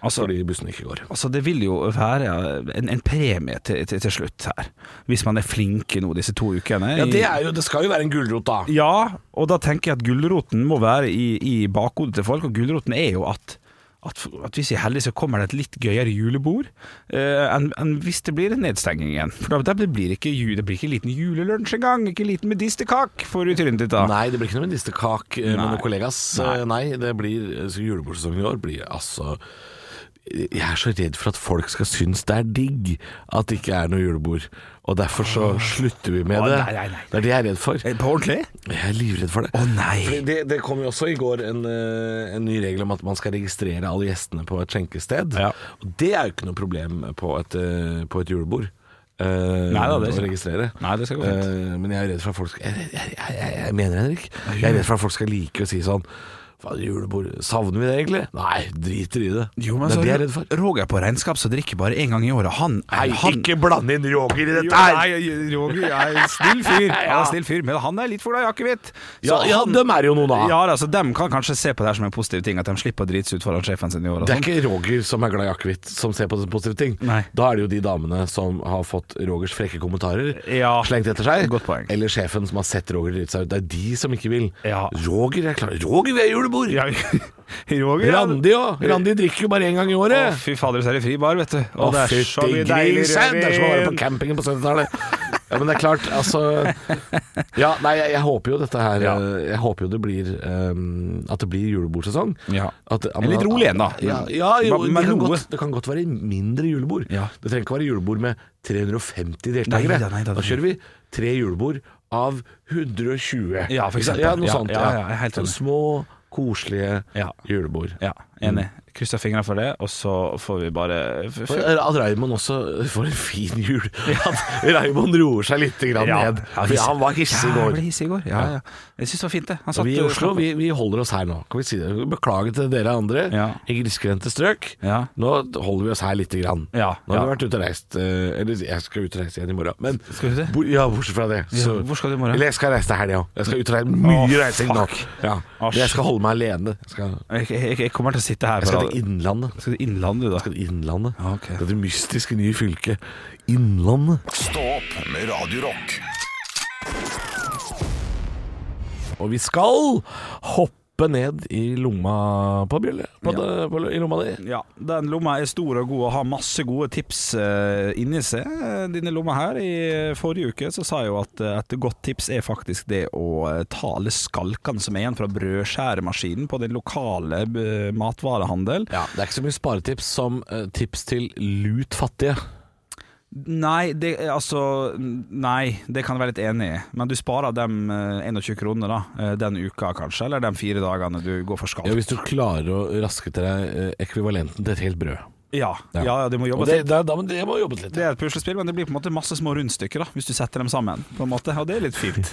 Speaker 3: Altså-
Speaker 4: fordi bussene ikke går.
Speaker 3: Altså, det vil jo være en, en premie til, til, til slutt her, hvis man er flinke nå disse to ukene.
Speaker 4: Ja,
Speaker 3: i-
Speaker 4: det, er jo, det skal jo være en gulrot, da.
Speaker 3: Ja, og da tenker jeg at gulroten må være i, i bakhodet til folk, og gulroten er jo at at, at hvis vi er heldige, så kommer det et litt gøyere julebord eh, enn enn hvis det blir en nedstenging igjen. For da, da blir det ikke, ju- det blir ikke liten julelunsj engang, ikke liten medisterkak for trynet ditt da.
Speaker 4: Nei, det blir ikke noe medisterkak eh, med
Speaker 3: Nei.
Speaker 4: noen kollegas. Eh, Nei, det blir eh, så Julebordsesongen i år blir altså jeg er så redd for at folk skal synes det er digg at det ikke er noe julebord. Og derfor så slutter vi med
Speaker 3: Å,
Speaker 4: det.
Speaker 3: nei, nei, nei.
Speaker 4: Det er det jeg er redd for.
Speaker 3: Eh, På ordentlig?
Speaker 4: Jeg er livredd for det.
Speaker 3: Å nei.
Speaker 4: Fordi det, det kom jo også i går en, eh, en ny regel om at man skal registrere alle gjestene på et skjenkested.
Speaker 3: Ja.
Speaker 4: Og det er jo ikke noe problem på et, eh, på et julebord. eh,
Speaker 3: da, det
Speaker 4: å
Speaker 3: skal-
Speaker 4: registrere.
Speaker 3: Nei, det skal gå fint.
Speaker 4: Eh, men jeg er redd for at folk skal jeg, jeg, jeg, jeg, jeg mener det, Henrik. Jeg er redd for at folk skal like å si sånn Faen, julebord Savner vi det egentlig? Nei, driter i det.
Speaker 3: Jo, men
Speaker 4: det
Speaker 3: så
Speaker 4: er det jeg er redd for.
Speaker 3: Roger på regnskap som drikker bare en gang i året. Han,
Speaker 4: Nei,
Speaker 3: han
Speaker 4: ikke blande inn Roger i
Speaker 3: Jo,
Speaker 4: dette her!
Speaker 3: Nei, Roger er en snill fyr. Han er en snill fyr, men han er litt full av akevitt. Så
Speaker 4: Ja, ja,
Speaker 3: han-
Speaker 4: dem er jo noen av.
Speaker 3: Ja, da, så dem kan kanskje se på det her som en positiv ting, at de slipper å drite seg ut foran sjefen sin i år. og
Speaker 4: Det er
Speaker 3: sånn.
Speaker 4: ikke Roger som er glad i akevitt som ser på det som positive ting.
Speaker 3: Nei.
Speaker 4: Da er det jo de damene som har fått Rogers frekke kommentarer
Speaker 3: Ja.
Speaker 4: slengt etter seg.
Speaker 3: Godt poeng.
Speaker 4: Eller sjefen som har sett Roger drite seg ut. Det er de som ikke vil.
Speaker 3: Ja.
Speaker 4: Roger er klar. Roger vil ha julebord!
Speaker 3: Ja, Roger, ja.
Speaker 4: Randi òg. Randi drikker jo bare én gang i
Speaker 3: Å,
Speaker 4: året.
Speaker 3: fy fader, så er det fri bar, vet du. Og det er så mye
Speaker 4: fytti
Speaker 3: deilig
Speaker 4: grisen! Det er som å være på
Speaker 3: rødvin.
Speaker 4: campingen på 70-tallet. Ja, men det er klart, altså Ja, nei, jeg, jeg håper jo dette her
Speaker 3: Ja.
Speaker 4: eh, Jeg håper jo det blir eh, At det blir julebordsesong.
Speaker 3: Ja.
Speaker 4: At, at
Speaker 3: Men litt rolig igjen, da.
Speaker 4: Ja, ja jo,
Speaker 3: Men- men
Speaker 4: det, kan
Speaker 3: noe.
Speaker 4: godt, det kan godt være mindre julebord.
Speaker 3: Ja.
Speaker 4: Det trenger ikke være julebord med 350
Speaker 3: Nei
Speaker 4: deltakere.
Speaker 3: da, nei da,
Speaker 4: da kjører vi tre julebord av 120.
Speaker 3: Ja, for eksempel.
Speaker 4: Ja, noe
Speaker 3: Ja,
Speaker 4: sånt.
Speaker 3: ja, ja, jeg er helt enig.
Speaker 4: Små, koselige
Speaker 3: Ja.
Speaker 4: julebord.
Speaker 3: Ja, enig. Krysser fingrene for det, og så får vi bare f- f-
Speaker 4: For eh, At Raymond også får en fin jul. At Raymond roer seg litt grann ned. For han var hissig i går.
Speaker 3: Jævlig hissig i går. Ja, ja. Jeg syns det var fint, det. Han
Speaker 4: Og
Speaker 3: satt
Speaker 4: Vi i Oslo vi, vi holder oss her nå. Kan vi si det? Beklager til dere andre
Speaker 3: Ja.
Speaker 4: i grisgrendte strøk.
Speaker 3: Ja.
Speaker 4: Nå holder vi oss her lite grann.
Speaker 3: Ja,
Speaker 4: Nå har
Speaker 3: ja.
Speaker 4: vi vært ute og reist. eh, Eller jeg skal ut og reise igjen i morgen. Men,
Speaker 3: Skal du det?
Speaker 4: Bo- Ja, bortsett fra det. så-
Speaker 3: hvor skal du i morgen?
Speaker 4: Eller jeg skal reise til helga òg. Jeg skal ut og reise mye
Speaker 3: Å,
Speaker 4: reising nå. Ja.
Speaker 3: Å,
Speaker 4: Men jeg skal holde meg alene. Jeg skal,
Speaker 3: Jeg, jeg, jeg kommer til å sitte her
Speaker 4: jeg
Speaker 3: på
Speaker 4: skal til
Speaker 3: radio.
Speaker 4: Innlandet.
Speaker 3: Skal du innlandet, du, da?
Speaker 4: Jeg skal til Innlandet.
Speaker 3: Ja, ok.
Speaker 4: Dette mystiske nye fylket Innlandet.
Speaker 1: Stå opp med Radio Rock.
Speaker 4: Og vi skal hoppe ned i lomma på bjelle. På det, på, I lomma di.
Speaker 3: Ja, den lomma er stor og god og har masse gode tips eh, inni seg. Eh, Dine lomma her i eh, forrige uke så sa jeg jo at eh, et godt tips er faktisk det å eh, ta alle skalkene som er igjen fra brødskjæremaskinen på den lokale eh, matvarehandel.
Speaker 4: Ja, Det er ikke så mye sparetips som eh, tips til lut fattige.
Speaker 3: Nei, det, er altså Nei, det kan jeg være litt enig i. Men du sparer dem eh, 21 kroner da, eh, den uka kanskje, eller de fire dagene du går for
Speaker 4: Ja,
Speaker 3: skalk.
Speaker 4: Hvis du klarer å raske til deg eh, ekvivalenten til et helt brød.
Speaker 3: Ja, ja, ja du må
Speaker 4: Og
Speaker 3: jobbe
Speaker 4: det, det, da, men det må jobbes litt.
Speaker 3: Det er et puslespill, men det blir på en måte masse små rundstykker da hvis du setter dem sammen. På en måte, Og det er litt fint.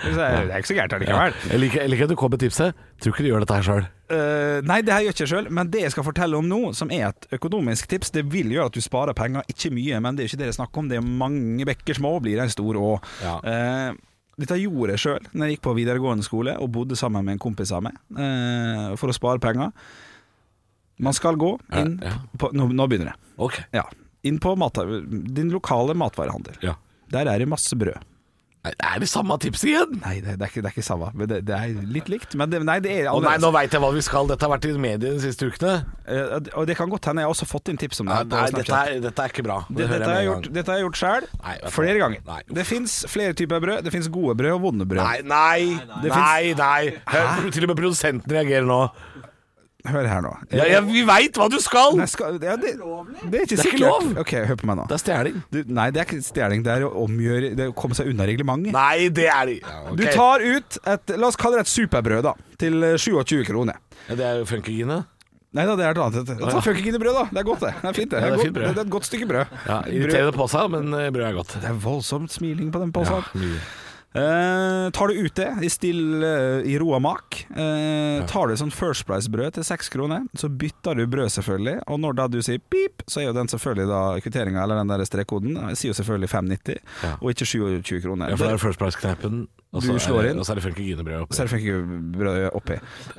Speaker 3: Det er det er ikke så gærent allikevel.
Speaker 4: Jeg liker, jeg liker at du kom med tipset. Tror ikke du gjør dette her sjøl.
Speaker 3: Eh, nei, det her gjør ikke jeg sjøl, men det jeg skal fortelle om nå, som er et økonomisk tips, det vil gjøre at du sparer penger. Ikke mye, men det er ikke det det er snakk om. Det er mange bekker små, blir en stor å.
Speaker 4: Ja.
Speaker 3: Eh, dette gjorde jeg sjøl når jeg gikk på videregående skole og bodde sammen med en kompis av meg eh, for å spare penger. Man skal gå inn
Speaker 4: Ja, ja.
Speaker 3: på Nå, nå begynner det.
Speaker 4: Ok.
Speaker 3: Ja. Inn på mat, din lokale matvarehandel.
Speaker 4: Ja.
Speaker 3: Der er det masse brød.
Speaker 4: Nei, Det er det samme tipset igjen!
Speaker 3: Nei, det, det, er, ikke, det er ikke samme. Men det, det er litt likt. Men det, nei, det er
Speaker 4: Å nei, nå veit jeg hva vi skal. Dette har vært i media de siste ukene.
Speaker 3: Eh, Og det kan godt hende jeg har også fått inn tips om det.
Speaker 4: Nei,
Speaker 3: her på Snapchat.
Speaker 4: dette, er, dette er ikke bra.
Speaker 3: Det,
Speaker 4: hører
Speaker 3: dette, har jeg
Speaker 4: med en
Speaker 3: gjort,
Speaker 4: gang.
Speaker 3: dette har jeg gjort sjøl,
Speaker 4: Nei, vet du
Speaker 3: flere
Speaker 4: hva.
Speaker 3: ganger.
Speaker 4: Nei, uff.
Speaker 3: det fins flere typer brød. Det fins gode brød og vonde brød.
Speaker 4: Nei, nei,
Speaker 3: Det
Speaker 4: nei, nei. Hør, Til og med produsenten reagerer nå.
Speaker 3: Hør her nå. Eh,
Speaker 4: Ja, ja, vi veit hva du skal!
Speaker 3: Nei, skal, ja, det, det er ikke
Speaker 4: Det er ikke
Speaker 3: sikkert.
Speaker 4: lov.
Speaker 3: Ok, Hør på meg nå.
Speaker 4: Det er stjeling.
Speaker 3: Du, nei, det er ikke stjeling. Det er å omgjøre Det er å komme seg unna reglementet.
Speaker 4: Nei, det er det. Ja, ok.
Speaker 3: Du tar ut et La oss kalle det et superbrød, da. Til eh, 27 kroner.
Speaker 4: Ja, Det er jo funkygine.
Speaker 3: Nei da, det er et annet. Ta funkeginebrød, da. Det er godt, det. Det er fint, det.
Speaker 4: Ja, det er
Speaker 3: godt-
Speaker 4: fint brød.
Speaker 3: det er et godt stykke brød.
Speaker 4: Ja,
Speaker 3: brød.
Speaker 4: Irriterende på seg, men eh, brød er godt.
Speaker 3: Det er voldsomt smiling på den
Speaker 4: Ja,
Speaker 3: posen.
Speaker 4: mye.
Speaker 3: Eh, tar du ut det i still eh, i ro og mak, eh, tar du sånn First Price-brød til seks kroner, så bytter du brød selvfølgelig, og når da du sier pip, så er jo den selvfølgelig da kvitteringa eller den der strekkoden, eh, sier jo selvfølgelig 5,90,
Speaker 4: Ja.
Speaker 3: og ikke 27 kroner.
Speaker 4: Ja, for det er First Price-kneppen, og så
Speaker 3: Du slår
Speaker 4: er det-
Speaker 3: inn.
Speaker 4: og så er det funkygine-brød
Speaker 3: så
Speaker 4: oppi.
Speaker 3: er det funkebrødet oppi.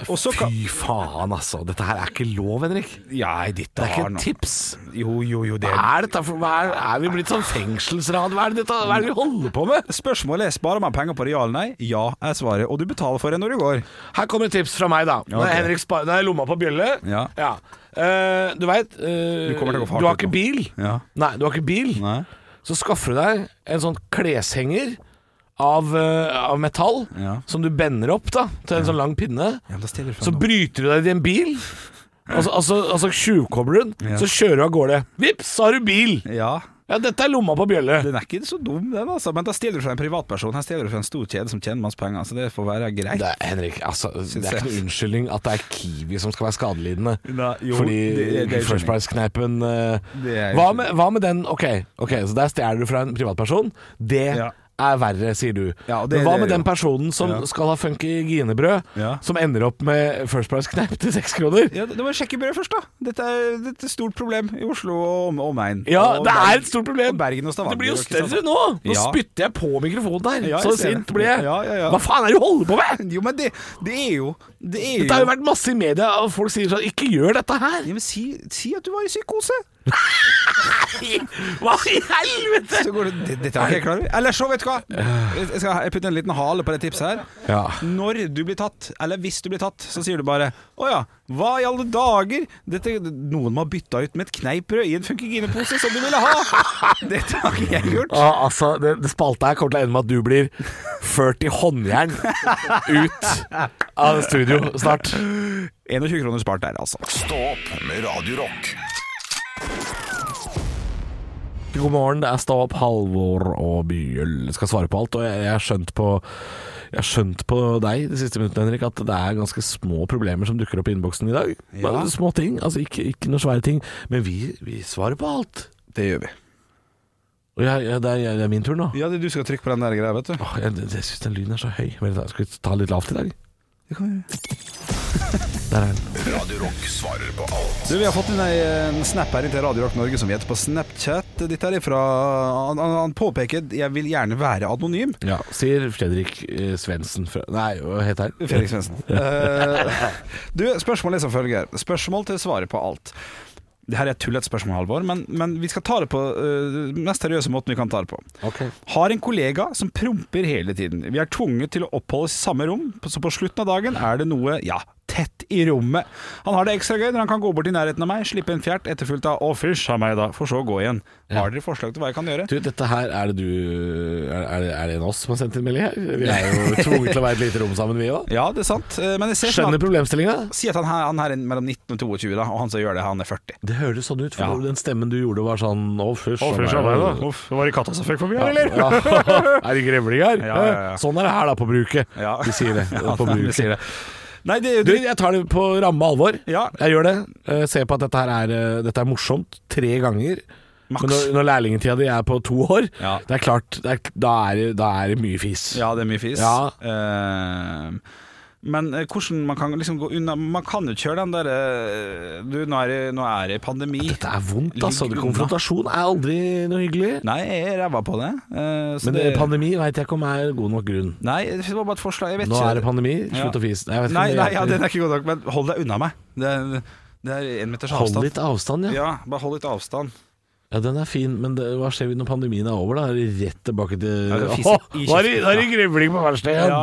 Speaker 3: Og så kan
Speaker 4: Fy faen, altså. Dette her er ikke lov, Henrik.
Speaker 3: Ja, i ditt
Speaker 4: Det er ikke
Speaker 3: barn.
Speaker 4: et tips.
Speaker 3: Jo, jo, jo, det
Speaker 4: Hva er dette for hva er, er vi blitt sånn fengselsrad? Hva er det, dette, hva er det vi holder på med?
Speaker 3: Spørsmålet er sparer man penger på det, ja eller nei? Ja er svaret, og du betaler for det når du går.
Speaker 4: Her kommer et tips fra meg, da. Nå
Speaker 3: ok.
Speaker 4: er Henrik Spar... Nå er lomma på bjølle.
Speaker 3: Ja.
Speaker 4: Eh, du veit eh,
Speaker 3: Du kommer til å gå for hardt
Speaker 4: Du har
Speaker 3: ut nå.
Speaker 4: ikke bil.
Speaker 3: Ja.
Speaker 4: Nei, du har ikke bil.
Speaker 3: Nei.
Speaker 4: Så skaffer du deg en sånn kleshenger av, eh, av metall
Speaker 3: Ja.
Speaker 4: som du bender opp da til en sånn lang pinne.
Speaker 3: Ja, men da stiller du
Speaker 4: Så bryter du deg inn i en bil, og så- og så- og så tjuvkobler du den.
Speaker 3: Ja.
Speaker 4: Så kjører du av gårde. Vips, så har du bil!
Speaker 3: Ja,
Speaker 4: Ja, dette er lomma på bjølle.
Speaker 3: Den er ikke så dum, den, altså. Men da stjeler du fra en privatperson. Her stjeler du fra en stor kjede som tjener masse penger. Så det får være greit.
Speaker 4: Det er, Henrik, altså, det er
Speaker 3: jeg.
Speaker 4: ikke noen unnskyldning at det er Kiwi som skal være skadelidende.
Speaker 3: Nei, jo,
Speaker 4: fordi
Speaker 3: det- det er unnskyldning.
Speaker 4: First Price-kneipen eh,
Speaker 3: Det er
Speaker 4: hva,
Speaker 3: unnskyldning.
Speaker 4: med- hva med den Ok, ok, så der stjeler du fra en privatperson. Det
Speaker 3: Ja.
Speaker 4: er verre, sier du.
Speaker 3: Ja, og det-
Speaker 4: Men hva
Speaker 3: det er
Speaker 4: med
Speaker 3: jo-
Speaker 4: den personen som
Speaker 3: Ja.
Speaker 4: skal ha funky ginebrød,
Speaker 3: Ja.
Speaker 4: som ender opp med First Price-kneip til seks kroner?
Speaker 3: Ja, Da må jeg sjekke brødet først, da. Dette er, dette er et stort problem i Oslo og om- omegn.
Speaker 4: Ja,
Speaker 3: Og
Speaker 4: det
Speaker 3: Bergen-
Speaker 4: er et stort problem.
Speaker 3: Og Bergen og Stavanger.
Speaker 4: Det blir jo
Speaker 3: og Kristiansand.
Speaker 4: større nå! Nå
Speaker 3: Ja.
Speaker 4: spytter jeg på mikrofonen der.
Speaker 3: Ja, jeg
Speaker 4: så
Speaker 3: ser det.
Speaker 4: sint blir jeg.
Speaker 3: Ja, ja, ja.
Speaker 4: Hva faen er det du holder på med?!
Speaker 3: Jo, men det, det er jo Det er
Speaker 4: Det har jo vært masse i media, og folk sier sånn Ikke gjør dette her!
Speaker 3: ja, men si, si at du var i psykose.
Speaker 4: Hva i helvete?!
Speaker 3: Så går det, det- dette var ikke jeg klar over. Eller så, vet du hva! Jeg skal putte en liten hale på det tipset her.
Speaker 4: Ja.
Speaker 3: Når du blir tatt, eller hvis du blir tatt, så sier du bare 'Å ja, hva i alle dager?' Dette, noen må ha bytta ut med et kneippbrød i en funkeginepose som du ville ha! Dette har ikke jeg gjort.
Speaker 4: Ah, altså, det, det spalte her kommer til å ende med at du blir ført i håndjern ut av studio snart.
Speaker 3: 21 kroner spart der, altså.
Speaker 1: Stå opp med Radio Rock.
Speaker 4: God morgen, det er Stå opp, Halvor og Byhjul skal svare på alt. Og jeg jeg har skjønt på jeg har skjønt på deg de siste minuttene, Henrik, at det er ganske små problemer som dukker opp i innboksen i dag. Bare Små ting, altså ikke, ikke noe svære ting. Men vi, vi svarer på alt.
Speaker 3: Det gjør vi.
Speaker 4: Og jeg, jeg, det, er, det er min tur nå.
Speaker 3: Ja, det- du skal trykke på den der greia, vet du.
Speaker 4: Åh, jeg jeg syns den lyden er så høy. Men da Skal vi ta litt lavt i dag? Der er den.
Speaker 1: Radio Rock svarer på alt.
Speaker 3: Du, Vi har fått inn ei, en snap her til Radio Rock Norge som vi heter på Snapchat. Dette er ifra Han, han, han påpeker 'jeg vil gjerne være anonym'.
Speaker 4: Ja, sier Fredrik eh, Svendsen fra Nei, hva heter han?
Speaker 3: Fredrik Svendsen. Eh, du, spørsmålet er som følger. Spørsmål til svaret på alt. Det her er et tullete spørsmål, Halvor, men, men vi skal ta det på eh, den mest seriøse måten vi kan ta det på.
Speaker 4: Ok.
Speaker 3: Har en kollega som promper hele tiden. Vi er tvunget til å oppholde oss i samme rom, så på slutten av dagen er det noe, ja, tett i rommet. Han har det ekstra gøy når han kan gå bort i nærheten av meg, slippe en fjert, etterfulgt av 'å, fysj' av meg, da, for så å gå igjen. Har dere forslag til hva jeg kan gjøre?
Speaker 4: Du, dette her, er det du Er, er, det, er det en oss som har sendt inn melding her? Vi er jo tvunget til å være i et lite rom sammen, vi òg.
Speaker 3: Ja, det er sant, eh, men jeg ser sånn
Speaker 4: Skjønner
Speaker 3: at
Speaker 4: problemstillinga?
Speaker 3: Si at han her, han her er mellom 19 og 22, da, og han som gjør det, han er 40.
Speaker 4: Det høres sånn ut, for
Speaker 3: Ja.
Speaker 4: den stemmen du gjorde var sånn Å, fysj.
Speaker 3: Uff, var det katta som fikk forbi,
Speaker 4: Eller? er det grevling her?
Speaker 3: Ja, ja, ja.
Speaker 4: Sånn er det her, da, på bruket.
Speaker 3: Ja.
Speaker 4: De sier det.
Speaker 3: Ja,
Speaker 4: på
Speaker 3: de
Speaker 4: bruket.
Speaker 3: sier det. Nei, det er jo
Speaker 4: Du,
Speaker 3: dritt.
Speaker 4: jeg tar det på ramme alvor.
Speaker 3: Ja.
Speaker 4: Jeg gjør det. Eh, ser på at dette her er, eh, dette er morsomt tre ganger.
Speaker 3: Maks.
Speaker 4: Men når, når lærlingtida di er på to år,
Speaker 3: Ja.
Speaker 4: det er klart, det er, da, er, det- da er det mye fis.
Speaker 3: Ja, det er mye fis.
Speaker 4: Ja.
Speaker 3: Eh, men eh, hvordan man kan liksom gå unna Man kan jo ikke kjøre den derre eh, Du, nå er det, nå er det pandemi.
Speaker 4: Dette er vondt, altså.
Speaker 3: Ligg unna.
Speaker 4: Konfrontasjon er aldri noe hyggelig.
Speaker 3: Nei, jeg er ræva på det. eh, så
Speaker 4: Men det, pandemi veit jeg ikke om er god nok grunn.
Speaker 3: Nei, det var bare et forslag. Jeg vet
Speaker 4: Nå
Speaker 3: ikke.
Speaker 4: er det pandemi, slutt
Speaker 3: Ja.
Speaker 4: å fise. Jeg vet ikke om
Speaker 3: Nei,
Speaker 4: det
Speaker 3: nei ja,
Speaker 4: hjelper.
Speaker 3: den er ikke god nok, men hold deg unna meg. Det er, det er en meters
Speaker 4: Hold
Speaker 3: avstand.
Speaker 4: litt avstand, ja. ja.
Speaker 3: Ja, bare hold litt avstand.
Speaker 4: Den er fin, men det, hva skjer når pandemien er over? Da er det rett tilbake til
Speaker 3: Ja,
Speaker 4: Åh,
Speaker 3: det fiser i
Speaker 4: Nå er det-
Speaker 3: kjeften,
Speaker 4: nå er det grevling på verkstedet!
Speaker 3: Ja,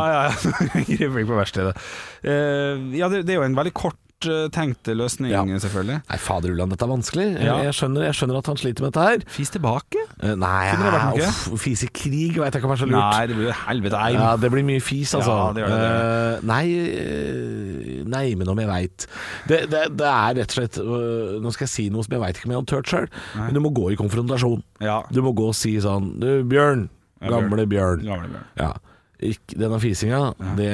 Speaker 3: ja,
Speaker 4: igjen.
Speaker 3: ja. Grevling på verkstedet. Eh, ja, det, det er jo en veldig kort eh, tenkte løsning,
Speaker 4: Ja.
Speaker 3: selvfølgelig.
Speaker 4: Nei, fader Ulland, dette er vanskelig. Jeg-
Speaker 3: Ja.
Speaker 4: Jeg, skjønner, jeg skjønner at han sliter med dette her.
Speaker 3: Fis tilbake?
Speaker 4: Eh, Nei,
Speaker 3: Kunne det vært noe?
Speaker 4: uff, fisekrig veit jeg ikke om er så lurt.
Speaker 3: Nei, det blir jo helvete eim.
Speaker 4: Ja, det blir mye fis, altså.
Speaker 3: Ja, det gjør det, det
Speaker 4: Eh, nei, eh, nei, men om jeg veit det, det, det er rett og slett øh, Nå skal jeg si noe som jeg veit ikke om jeg hadde turt sjøl, men du må gå i konfrontasjon.
Speaker 3: Ja.
Speaker 4: Du må gå og si sånn Du, Bjørn.
Speaker 3: Ja, Bjørn.
Speaker 4: gamle Bjørn.
Speaker 3: Gamle Bjørn.
Speaker 4: Ja. Ikk- denne fisinga, det,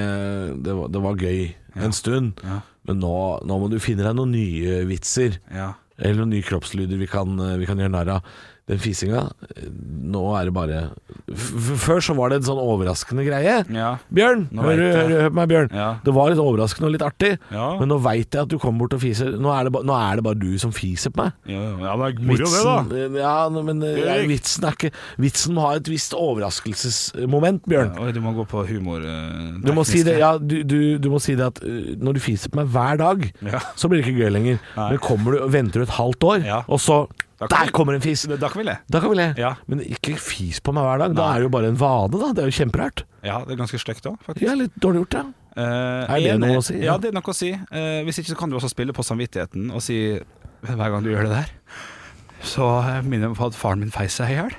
Speaker 4: det, var, det var gøy en stund,
Speaker 3: Ja.
Speaker 4: men nå, nå må du finne deg noen nye vitser.
Speaker 3: Ja.
Speaker 4: Eller noen nye kroppslyder vi kan, øh, vi kan gjøre narr av. Den fisinga eh, Nå er det bare f f- Før så var det en sånn overraskende greie.
Speaker 3: Ja.
Speaker 4: Bjørn!
Speaker 3: Nå
Speaker 4: Hør,
Speaker 3: vet jeg.
Speaker 4: hør, hør på meg, Bjørn.
Speaker 3: Ja.
Speaker 4: Det var litt overraskende og litt artig,
Speaker 3: Ja.
Speaker 4: men nå veit jeg at du kommer bort og fiser. Nå er det, ba nå er det bare du som fiser på meg.
Speaker 3: Ja, ja, det er
Speaker 4: eh, ja, n- men eh,
Speaker 3: Erik.
Speaker 4: vitsen er ikke Vitsen må ha et visst overraskelsesmoment, Bjørn.
Speaker 3: Oi, du må gå på humor... eh,
Speaker 4: Du må, si
Speaker 3: tekniske.
Speaker 4: det, ja, du, du, du må si det at eh, når du fiser på meg hver dag,
Speaker 3: Ja.
Speaker 4: så blir det ikke gøy lenger.
Speaker 3: Nei.
Speaker 4: Men kommer du, venter du et halvt år,
Speaker 3: Ja.
Speaker 4: og så
Speaker 3: Da kan
Speaker 4: Der
Speaker 3: du-
Speaker 4: kommer en fis!
Speaker 3: Da kan vi le.
Speaker 4: Da kan vi le.
Speaker 3: Ja.
Speaker 4: Men ikke fis på meg hver dag. Da er det jo bare en vane, da. Det er jo kjemperært.
Speaker 3: Ja, det er ganske slekt òg, faktisk.
Speaker 4: Ja, litt dårlig gjort, ja.
Speaker 3: Eh,
Speaker 4: Er det
Speaker 3: en-
Speaker 4: noe å si?
Speaker 3: Ja, det er noe å si. Eh, hvis ikke så kan du også spille på samvittigheten og si hver gang du gjør det der, så eh, minner jeg meg på at faren min feis seg i hjel.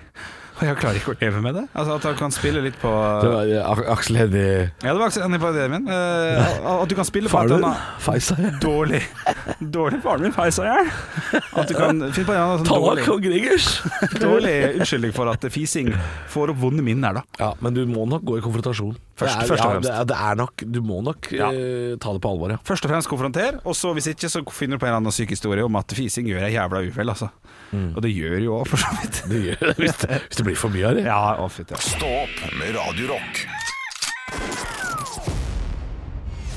Speaker 3: Og jeg klarer ikke å leve med det. Altså At han kan spille litt på
Speaker 4: Det var, eh, A- Aksel Hennie
Speaker 3: Ja, det var akkurat en idé min. Eh, at du kan spille på
Speaker 4: Far
Speaker 3: at
Speaker 4: du?
Speaker 3: han har
Speaker 4: Feisa, ja.
Speaker 3: dårlig Dårlig faren min feis seg i hjel. At du kan finne på en annen sånn
Speaker 4: Tallak
Speaker 3: dårlig,
Speaker 4: og Gregers.
Speaker 3: dårlig unnskyldning for at fising får opp vonde minner, da.
Speaker 4: Ja, men du må nok gå i konfrontasjon.
Speaker 3: Først-
Speaker 4: det er,
Speaker 3: først og
Speaker 4: ja, det er, det er nok Du må nok
Speaker 3: Ja.
Speaker 4: eh, ta det på alvor, ja.
Speaker 3: Først og fremst konfronter, og så hvis ikke så finner du på en eller annen syk historie om at fising gjør deg jævla uvel, altså. Og det gjør jo òg, for så vidt.
Speaker 4: Mm. Det gjør det hvis det, hvis det blir for mye av det.
Speaker 3: Ja, å fytti.
Speaker 1: Stå opp med Radio Rock.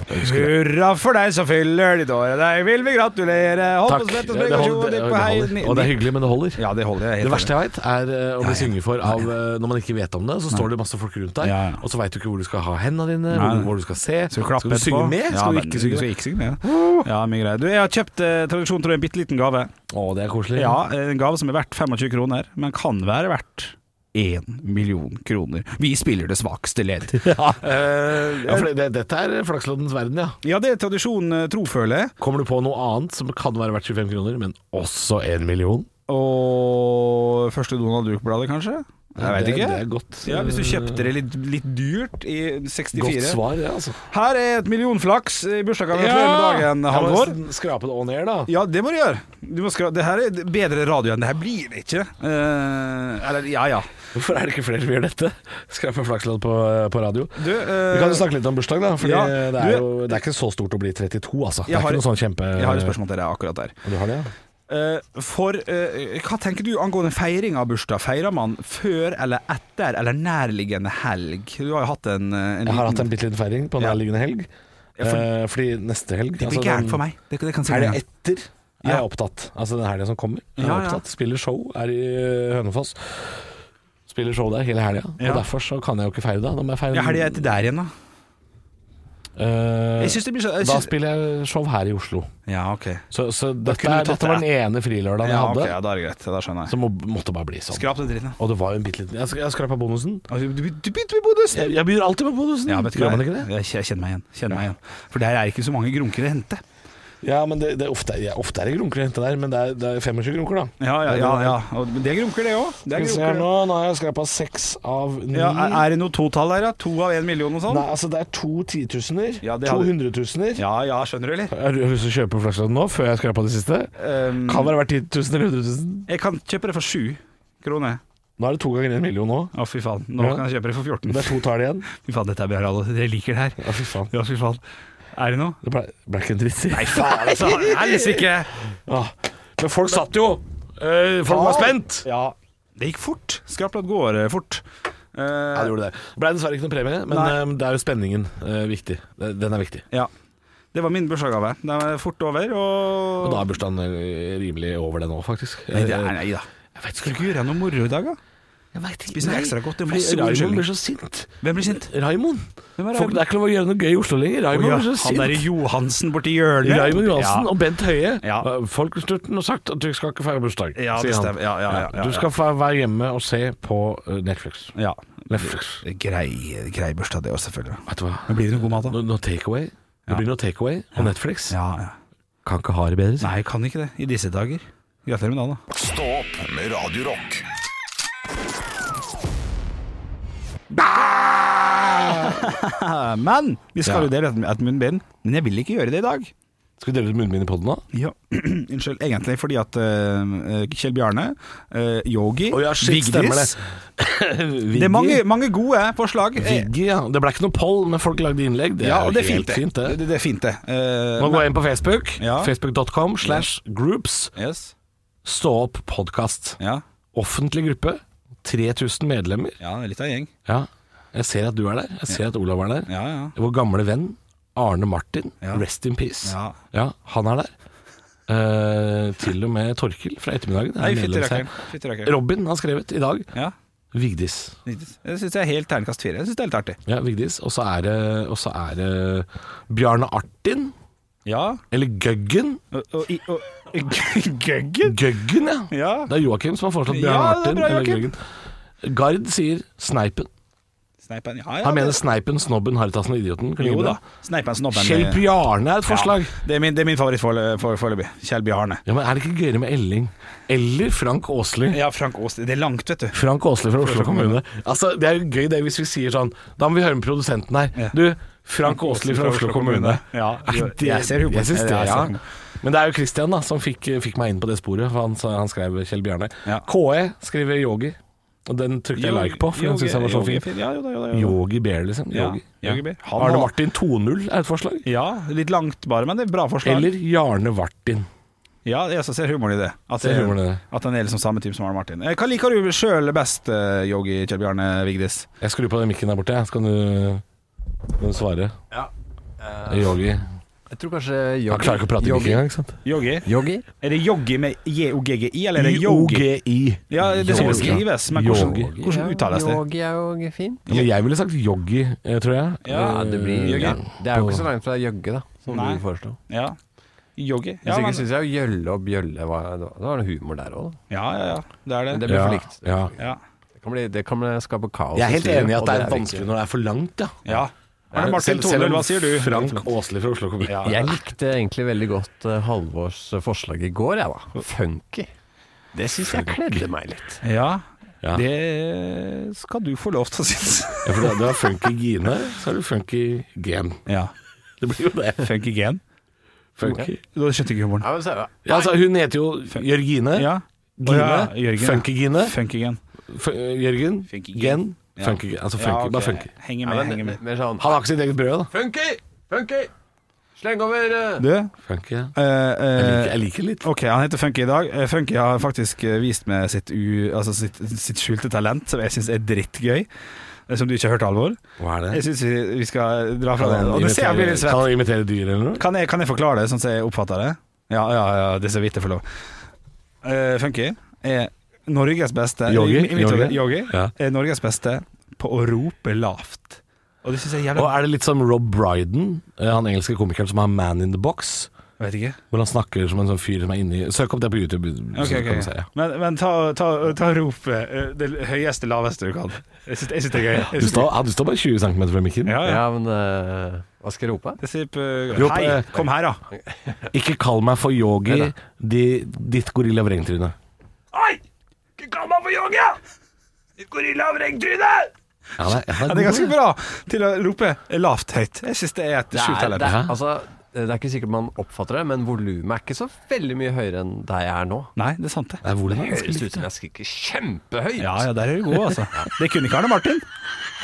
Speaker 3: Hurra for deg som fyller ditt år, deg vil vi gratulere. Hold
Speaker 4: Takk.
Speaker 3: på
Speaker 4: Ja,
Speaker 3: svett og
Speaker 4: det
Speaker 3: sprekk og tjo
Speaker 4: holder-
Speaker 3: og dipp
Speaker 4: det-
Speaker 3: og hei.
Speaker 4: det holder. Og det er hyggelig, men det holder.
Speaker 3: Ja, det holder jeg.
Speaker 4: Det
Speaker 3: helt
Speaker 4: verste jeg veit, er eh, å bli
Speaker 3: Ja, ja.
Speaker 4: synget for av eh, når man ikke vet om det. Så står det masse folk rundt deg,
Speaker 3: Ja, ja.
Speaker 4: og så veit du ikke hvor du skal ha hendene dine,
Speaker 3: Nei,
Speaker 4: hvor,
Speaker 3: nei.
Speaker 4: hvor du skal se.
Speaker 3: Skal du klappe
Speaker 4: du synge
Speaker 3: etterpå?
Speaker 4: med?
Speaker 3: Ja,
Speaker 4: Skal du
Speaker 3: men
Speaker 4: ikke synge
Speaker 3: skal
Speaker 4: med?
Speaker 3: ikke synge med? Ja, mye greier. Du, jeg har kjøpt eh, tradisjon, tror jeg, en bitte liten gave.
Speaker 4: Å, det er koselig.
Speaker 3: Ja, En gave som er verdt 25 kroner, men kan være verdt 1 million kroner. Vi spiller det svakeste ledd.
Speaker 4: Eh, Ja, for det, dette er flaksloddens verden, ja.
Speaker 3: Ja, det er tradisjon eh, tro, føler jeg.
Speaker 4: Kommer du på noe annet som kan være verdt 25 kroner, men også en million?
Speaker 3: Og første Donald Duck-bladet, kanskje? Jeg veit
Speaker 4: Det-
Speaker 3: ikke.
Speaker 4: Det er godt.
Speaker 3: Ja, Hvis du
Speaker 4: eh,
Speaker 3: kjøpte det litt, litt dyrt i 64
Speaker 4: Godt svar, ja, altså.
Speaker 3: Her er et millionflaks i bursdagsgave. Gratulerer med dagen, Halvor.
Speaker 4: Ja, men Skrape det on air, da.
Speaker 3: Ja, det må du gjøre. Du må skra det her er bedre radio enn det her blir det ikke. Eh, eller, ja ja.
Speaker 4: Hvorfor er det ikke flere som gjør dette? Skrape flakslodd på, på radio.
Speaker 3: Du, eh,
Speaker 4: Vi kan jo snakke litt om bursdag, da. Fordi
Speaker 3: Ja,
Speaker 4: det,
Speaker 3: du-
Speaker 4: er jo, det er ikke så stort å bli 32, altså. Det
Speaker 3: Jeg
Speaker 4: er
Speaker 3: har-
Speaker 4: ikke noe sånn kjempe...
Speaker 3: jeg har et spørsmål til deg akkurat der.
Speaker 4: Du har det, ja?
Speaker 3: Eh, for eh, hva tenker du angående feiring av bursdag? Feirer man før eller etter eller nærliggende helg? Du har jo hatt en, eh, en
Speaker 4: Jeg har hatt
Speaker 3: liten
Speaker 4: en bitte liten feiring på
Speaker 3: Ja.
Speaker 4: nærliggende helg.
Speaker 3: for-
Speaker 4: Eh, fordi neste helg altså,
Speaker 3: Det blir gærent for meg. Altså, Det, det kan jeg si
Speaker 4: Er det
Speaker 3: med en gang.
Speaker 4: etter?
Speaker 3: Ja.
Speaker 4: Er jeg opptatt? Altså den helga som kommer. Jeg er
Speaker 3: Ja, ja.
Speaker 4: opptatt, Spiller show, er i eh, Hønefoss. Spiller show der hele helga.
Speaker 3: Ja.
Speaker 4: Og derfor så kan jeg jo ikke feire da. Da må jeg feire
Speaker 3: Ja, helga etter der igjen, da.
Speaker 4: Eh,
Speaker 3: Jeg synes det blir så jeg
Speaker 4: Da
Speaker 3: synes-
Speaker 4: spiller jeg show her i Oslo.
Speaker 3: Ja, ok.
Speaker 4: Så, så dette,
Speaker 3: kunne
Speaker 4: er,
Speaker 3: du tatt
Speaker 4: dette var
Speaker 3: det.
Speaker 4: den ene frilørdagen jeg
Speaker 3: Ja,
Speaker 4: hadde,
Speaker 3: ok, ja, da er det greit. Da skjønner jeg.
Speaker 4: som må, måtte bare bli sånn.
Speaker 3: Skrap den dritten, da.
Speaker 4: Og det var jo en bitte liten Jeg, sk- jeg skrapa bonusen.
Speaker 3: Altså, Du du begynte med bonusen!
Speaker 4: Jeg, jeg begynner alltid med bonusen.
Speaker 3: Ja, vet du
Speaker 4: Gjør
Speaker 3: hva?
Speaker 4: man ikke det?
Speaker 3: Jeg, jeg kjenner meg igjen. Kjenner meg igjen. For der er ikke så mange grunker å hente.
Speaker 4: Ja, men det, det er ofte, ja, ofte er det grunker å hente der, men det er, det er 25 grunker, da.
Speaker 3: Ja, ja, ja. ja. Og, men det grunker, det òg. Det er
Speaker 4: Skal vi se her
Speaker 3: grunker.
Speaker 4: nå, nå har jeg skrapa seks av ni.
Speaker 3: Ja, er, er det noe totall her, da? To av én million og sånn?
Speaker 4: Nei, altså det er to titusener.
Speaker 3: Ja, det
Speaker 4: to
Speaker 3: hadde-
Speaker 4: hundretusener.
Speaker 3: Ja ja, skjønner du, eller?
Speaker 4: Har du lyst til å kjøpe flakslodd nå, før jeg skrapa det siste?
Speaker 3: Ehm,
Speaker 4: Kan være verdt 10 000 eller 100 000.
Speaker 3: jeg kan kjøpe det for sju kroner.
Speaker 4: Nå er det to ganger en million nå.
Speaker 3: Å, fy faen. Nå
Speaker 4: Ja.
Speaker 3: kan jeg kjøpe det for 14.
Speaker 4: Det er to tall igjen.
Speaker 3: Fy faen, dette er bra, alle. Dere liker det her.
Speaker 4: Ja, fy faen.
Speaker 3: Ja, fy faen. Er det noe?
Speaker 4: Det ble, ble ikke en dritt. Nei,
Speaker 3: Faen, altså. Helsike!
Speaker 4: Ah. Men folk satt jo. Eh, folk var spent.
Speaker 3: Ja. Det gikk fort. Skraplet går eh, fort. Eh,
Speaker 4: Ja, det gjorde det. Ble dessverre ikke noen premie, men
Speaker 3: Nei.
Speaker 4: eh, det er jo spenningen eh, viktig. Det- Den er viktig.
Speaker 3: ja. Det var min bursdagsgave. Den var fort over, og
Speaker 4: Og da er bursdagen eh, rimelig over det nå, faktisk. Eh,
Speaker 3: Nei, det er, nei da.
Speaker 4: Jeg vet
Speaker 3: Skal du ikke gjøre noe moro i dag, da?
Speaker 4: Jeg vet ikke.
Speaker 3: Spiser ekstra godt, det er
Speaker 4: fordi
Speaker 3: masse god
Speaker 4: Raymond
Speaker 3: unnskyldning.
Speaker 4: blir så sint.
Speaker 3: Hvem blir sint?
Speaker 4: Raymond.
Speaker 3: Hvem
Speaker 4: Folk, det er ikke lov å gjøre noe gøy i Oslo lenger.
Speaker 3: Å
Speaker 4: Raymond
Speaker 3: ja,
Speaker 4: blir så
Speaker 3: han
Speaker 4: sint.
Speaker 3: der Johansen borti hjørnet.
Speaker 4: Raymond Johansen
Speaker 3: Ja.
Speaker 4: og Bent Høie.
Speaker 3: Ja.
Speaker 4: Eh, Folkesturten har sagt at du skal ikke feire bursdag,
Speaker 3: Ja, det
Speaker 4: sier han.
Speaker 3: stemmer. Ja, ja, ja, ja,
Speaker 4: Du skal fa- være hjemme og se på eh, Netflix.
Speaker 3: Ja.
Speaker 4: Netflix.
Speaker 3: Grei, grei bursdag, det òg, selvfølgelig.
Speaker 4: Vet du hva?
Speaker 3: Men blir det noe god mat, da?
Speaker 4: Nå, nå takeaway.
Speaker 3: Ja.
Speaker 4: Det blir noe takeaway og Netflix.
Speaker 3: Ja, ja.
Speaker 4: Kan ikke ha det bedre. sier
Speaker 3: Nei, jeg kan ikke det. I disse dager. Gratulerer med dagen, da.
Speaker 1: Stå opp med Radio Rock.
Speaker 3: Men vi skal
Speaker 4: Ja.
Speaker 3: jo dele et- et munnbind. Men jeg vil ikke gjøre det i dag.
Speaker 4: han. Skal vi dele ut munnbind i poden nå?
Speaker 3: Ja, Unnskyld. Egentlig fordi at øh, øh, Kjell Bjarne, øh, Yogi,
Speaker 4: Å ja, shit, stemmer det.
Speaker 3: Vigdis Det er mange, mange gode forslag. Eh,
Speaker 4: Viggy, ja. Det ble ikke noe poll, men folk lagde innlegg. Det
Speaker 3: Ja,
Speaker 4: er
Speaker 3: og
Speaker 4: jo
Speaker 3: det er fint,
Speaker 4: helt
Speaker 3: det.
Speaker 4: fint, det.
Speaker 3: Det, det er fint, det. Eh,
Speaker 4: Nå
Speaker 3: men-
Speaker 4: går jeg inn på Facebook.
Speaker 3: Ja.
Speaker 4: Facebook.com slash groups.
Speaker 3: Yes.
Speaker 4: Stå opp podkast.
Speaker 3: Ja.
Speaker 4: Offentlig gruppe. 3000 medlemmer.
Speaker 3: ja, det er litt av en gjeng.
Speaker 4: Ja. Jeg ser at du er der. Jeg ser at Olav er der.
Speaker 3: Ja, ja.
Speaker 4: Vår gamle venn Arne Martin,
Speaker 3: Ja.
Speaker 4: rest in peace.
Speaker 3: Ja.
Speaker 4: han er der. Eh, til og med Torkil fra ettermiddagen. er
Speaker 3: Nei,
Speaker 4: medlem her.
Speaker 3: fytterakker'n. Fytterakker'n.
Speaker 4: Robin har skrevet i dag.
Speaker 3: Ja.
Speaker 4: Vigdis.
Speaker 3: Det syns jeg er helt terningkast fire. Jeg synes det er litt artig.
Speaker 4: Ja, Vigdis. Og så er det, og så er det Bjarne Artin.
Speaker 3: Ja.
Speaker 4: Eller Gøggen.
Speaker 3: Og, og, i- og, Gøggen?
Speaker 4: Gøggen, ja.
Speaker 3: Ja.
Speaker 4: Det er Joakim som har foreslått Bjørn
Speaker 3: Ja, det er
Speaker 4: Martin.
Speaker 3: bra,
Speaker 4: eller
Speaker 3: Joakim.
Speaker 4: Jørgen. Gard sier Sneipen.
Speaker 3: Sneipen. Ja, ja,
Speaker 4: Han
Speaker 3: det-
Speaker 4: mener Sneipen, Snobben, Haritassen og Idioten. Kan
Speaker 3: Jo
Speaker 4: ligge
Speaker 3: da.
Speaker 4: bra.
Speaker 3: Sneipen, snobben.
Speaker 4: Kjell Bjarne er et forslag.
Speaker 3: eh, Ja, det, er min, det er min favoritt forel- for- foreløpig. Kjell Bjarne.
Speaker 4: Ja, men Er det ikke gøyere med Elling? Eller Frank Åsli?
Speaker 3: Ja, Frank Aas. Det er langt, vet du.
Speaker 4: Frank Åsli fra Oslo kommune. Altså, Det er jo gøy det hvis vi sier sånn Da må vi høre med produsenten her.
Speaker 3: Ja.
Speaker 4: Du, Frank Åsli fra Oslo kommune.
Speaker 3: Ja,
Speaker 4: Er det-
Speaker 3: jeg ser humor.
Speaker 4: Jeg synes det,
Speaker 3: Jeg ser
Speaker 4: ja.
Speaker 3: humor.
Speaker 4: Men det er jo Christian da, som fikk, fikk meg inn på det sporet. For han, sa- han skrev Kjell Bjarne.
Speaker 3: Ja.
Speaker 4: KE skriver Yogi. Og den trykte jeg like på, for den syns jeg var så fin.
Speaker 3: Ja, jo da, jo da, jo da.
Speaker 4: Yogi Bear, liksom.
Speaker 3: Ja,
Speaker 4: Yogi.
Speaker 3: Yogi Bear. Han
Speaker 4: Arne
Speaker 3: har-
Speaker 4: Martin 2.0 er et forslag.
Speaker 3: Ja, litt langt bare, men det er bra forslag.
Speaker 4: Eller Jarne Vartin.
Speaker 3: Ja, jeg også ser humoren i det. At,
Speaker 4: Ser
Speaker 3: det-
Speaker 4: humoren i det.
Speaker 3: at han er liksom samme type som Arne Martin. Eh, Hva liker du sjøl best, eh, Yogi Kjell Bjarne Vigdis?
Speaker 4: Jeg skrur på den mikken der borte, jeg. så kan du, kan du svare.
Speaker 5: Ja. Eh,
Speaker 4: Yogi.
Speaker 8: Jeg tror kanskje
Speaker 4: Han klarer ikke å prate like engang, ikke sant?
Speaker 3: Yogi.
Speaker 8: Yogi?
Speaker 3: Er det yogi med j-o-g-g-i, eller er det yogi? Ja, det er sånn det
Speaker 4: Yogi.
Speaker 3: skrives, men hvordan,
Speaker 4: Yogi.
Speaker 3: hvordan uttales det?
Speaker 8: Yogi er jo fint.
Speaker 4: Ja, men jeg ville sagt yogi, eh, tror jeg.
Speaker 3: Ja,
Speaker 4: Eh,
Speaker 8: det blir
Speaker 3: Yogi.
Speaker 8: ja. Det er jo ikke så langt fra jøgge, da. Som
Speaker 3: Nei.
Speaker 8: du foreslo.
Speaker 3: Ja. Yogi.
Speaker 8: Hvis
Speaker 3: Ja,
Speaker 8: ikke
Speaker 3: men,
Speaker 8: syns jeg jo Gjølle og Bjølle var Det var noe humor der òg, da.
Speaker 3: ja, ja, ja. Det er
Speaker 8: Men
Speaker 3: det.
Speaker 8: det ble
Speaker 4: ja,
Speaker 8: for likt.
Speaker 4: Ja.
Speaker 3: Ja.
Speaker 8: Det kan, bli, det kan bli- skape kaos.
Speaker 4: Jeg er helt
Speaker 8: styret,
Speaker 4: enig i at
Speaker 8: og
Speaker 4: det er
Speaker 8: vi
Speaker 4: vanskelig når det er for langt, ja.
Speaker 3: ja. Arne Martin
Speaker 4: Eh, Selv- selv om
Speaker 3: Tonel, hva sier du?
Speaker 4: Frank Åsli fra Oslo kommune.
Speaker 8: ikke. Jeg likte egentlig veldig godt eh, Halvors eh, forslag i går, jeg, da. Funky. Det syns jeg kledde meg litt.
Speaker 3: Ja,
Speaker 4: Ja.
Speaker 3: det skal du få lov til å synes.
Speaker 4: Ja, for du har funky Gine, så har du funky Gen.
Speaker 3: Ja.
Speaker 4: Det blir jo det.
Speaker 3: Funky gen.
Speaker 4: Funky.
Speaker 3: Du skjønte ikke humoren.
Speaker 8: Ja, men så,
Speaker 4: Ja, altså, hun heter jo Jørgine.
Speaker 3: Ja.
Speaker 4: Gine.
Speaker 3: Å, ja, Jørgen, ja.
Speaker 4: funky Gine.
Speaker 3: Funky gen.
Speaker 4: F Jørgen.
Speaker 3: Funky
Speaker 4: Gen.
Speaker 3: Ja.
Speaker 4: Funky, altså funky,
Speaker 3: ok.
Speaker 4: bare funky.
Speaker 3: Henger
Speaker 8: ja,
Speaker 3: med, henger
Speaker 8: men,
Speaker 3: med.
Speaker 8: mer sånn
Speaker 4: Han har ikke sitt eget brød, da.
Speaker 8: Funky! Funky! Sleng over eh,
Speaker 3: Du,
Speaker 4: Funky. ja.
Speaker 3: eh,
Speaker 4: Jeg liker,
Speaker 3: eh,
Speaker 4: jeg liker litt.
Speaker 3: Ok, han heter Funky i dag. Eh, Funky har faktisk eh, vist meg sitt, u, altså sitt, sitt skjulte talent, som jeg syns er drittgøy. eh, Som du ikke har hørt alvor.
Speaker 4: Hva er
Speaker 3: Jeg
Speaker 4: det?
Speaker 3: syns vi, vi skal dra fra
Speaker 4: Kan
Speaker 3: den.
Speaker 4: han
Speaker 3: Og det ser jeg blir litt
Speaker 4: imitere- kan
Speaker 3: svett.
Speaker 4: han imitere dyr eller noe?
Speaker 3: Kan jeg, kan jeg forklare det sånn som jeg oppfatter det? Ja, ja, ja, det er så vidt jeg får lov. Eh, funky er Norges beste
Speaker 4: Yogi?
Speaker 3: i mitt hode,
Speaker 4: Yogi?
Speaker 3: Yogi
Speaker 4: Ja.
Speaker 3: er Norges beste på å rope lavt. Og det syns jeg er
Speaker 4: Og
Speaker 3: jævlig
Speaker 4: er det litt som Rob Brydon, eh, han engelske komikeren som har Man in the Box?
Speaker 3: Jeg vet ikke.
Speaker 4: Hvor han snakker som en sånn fyr som er inni Søk opp det på YouTube. så
Speaker 3: Ok, ok,
Speaker 4: kan du
Speaker 3: ok.
Speaker 4: se, ja.
Speaker 3: Men, men ta, ta, ta ropet eh, det høyeste, laveste du kan. Jeg syns jeg syns det er gøy. Jeg
Speaker 4: Du
Speaker 3: syns det er
Speaker 4: står, ja, du står bare 20 cm fra mikken.
Speaker 3: gøy. Ja, ja.
Speaker 8: Ja, men eh, Hva skal jeg rope?
Speaker 3: Jeg sier på,
Speaker 4: Rop,
Speaker 3: hei,
Speaker 4: eh,
Speaker 3: kom her, da.
Speaker 4: Ikke kall meg for yogi,
Speaker 8: Nei
Speaker 4: de, ditt gorilla vrengtryne.
Speaker 3: Ja,
Speaker 4: Oi! Ikke kall meg for yogi! Ditt gorilla vrengtryne! Ja, det,
Speaker 3: det er
Speaker 4: ja, det
Speaker 3: ganske bra til å rope lavt høyt. Jeg syns det er et
Speaker 8: Det
Speaker 3: skjult
Speaker 8: er, det,
Speaker 3: talent.
Speaker 8: er, altså, det er ikke sikkert man oppfatter det, men volumet er ikke så veldig mye høyere enn der jeg er nå.
Speaker 3: Nei, det er sant, det.
Speaker 4: det er hvordan
Speaker 8: Det høres ut som jeg skriker kjempehøyt.
Speaker 3: Ja ja, der er du god, altså. Det kunne ikke Arne Martin.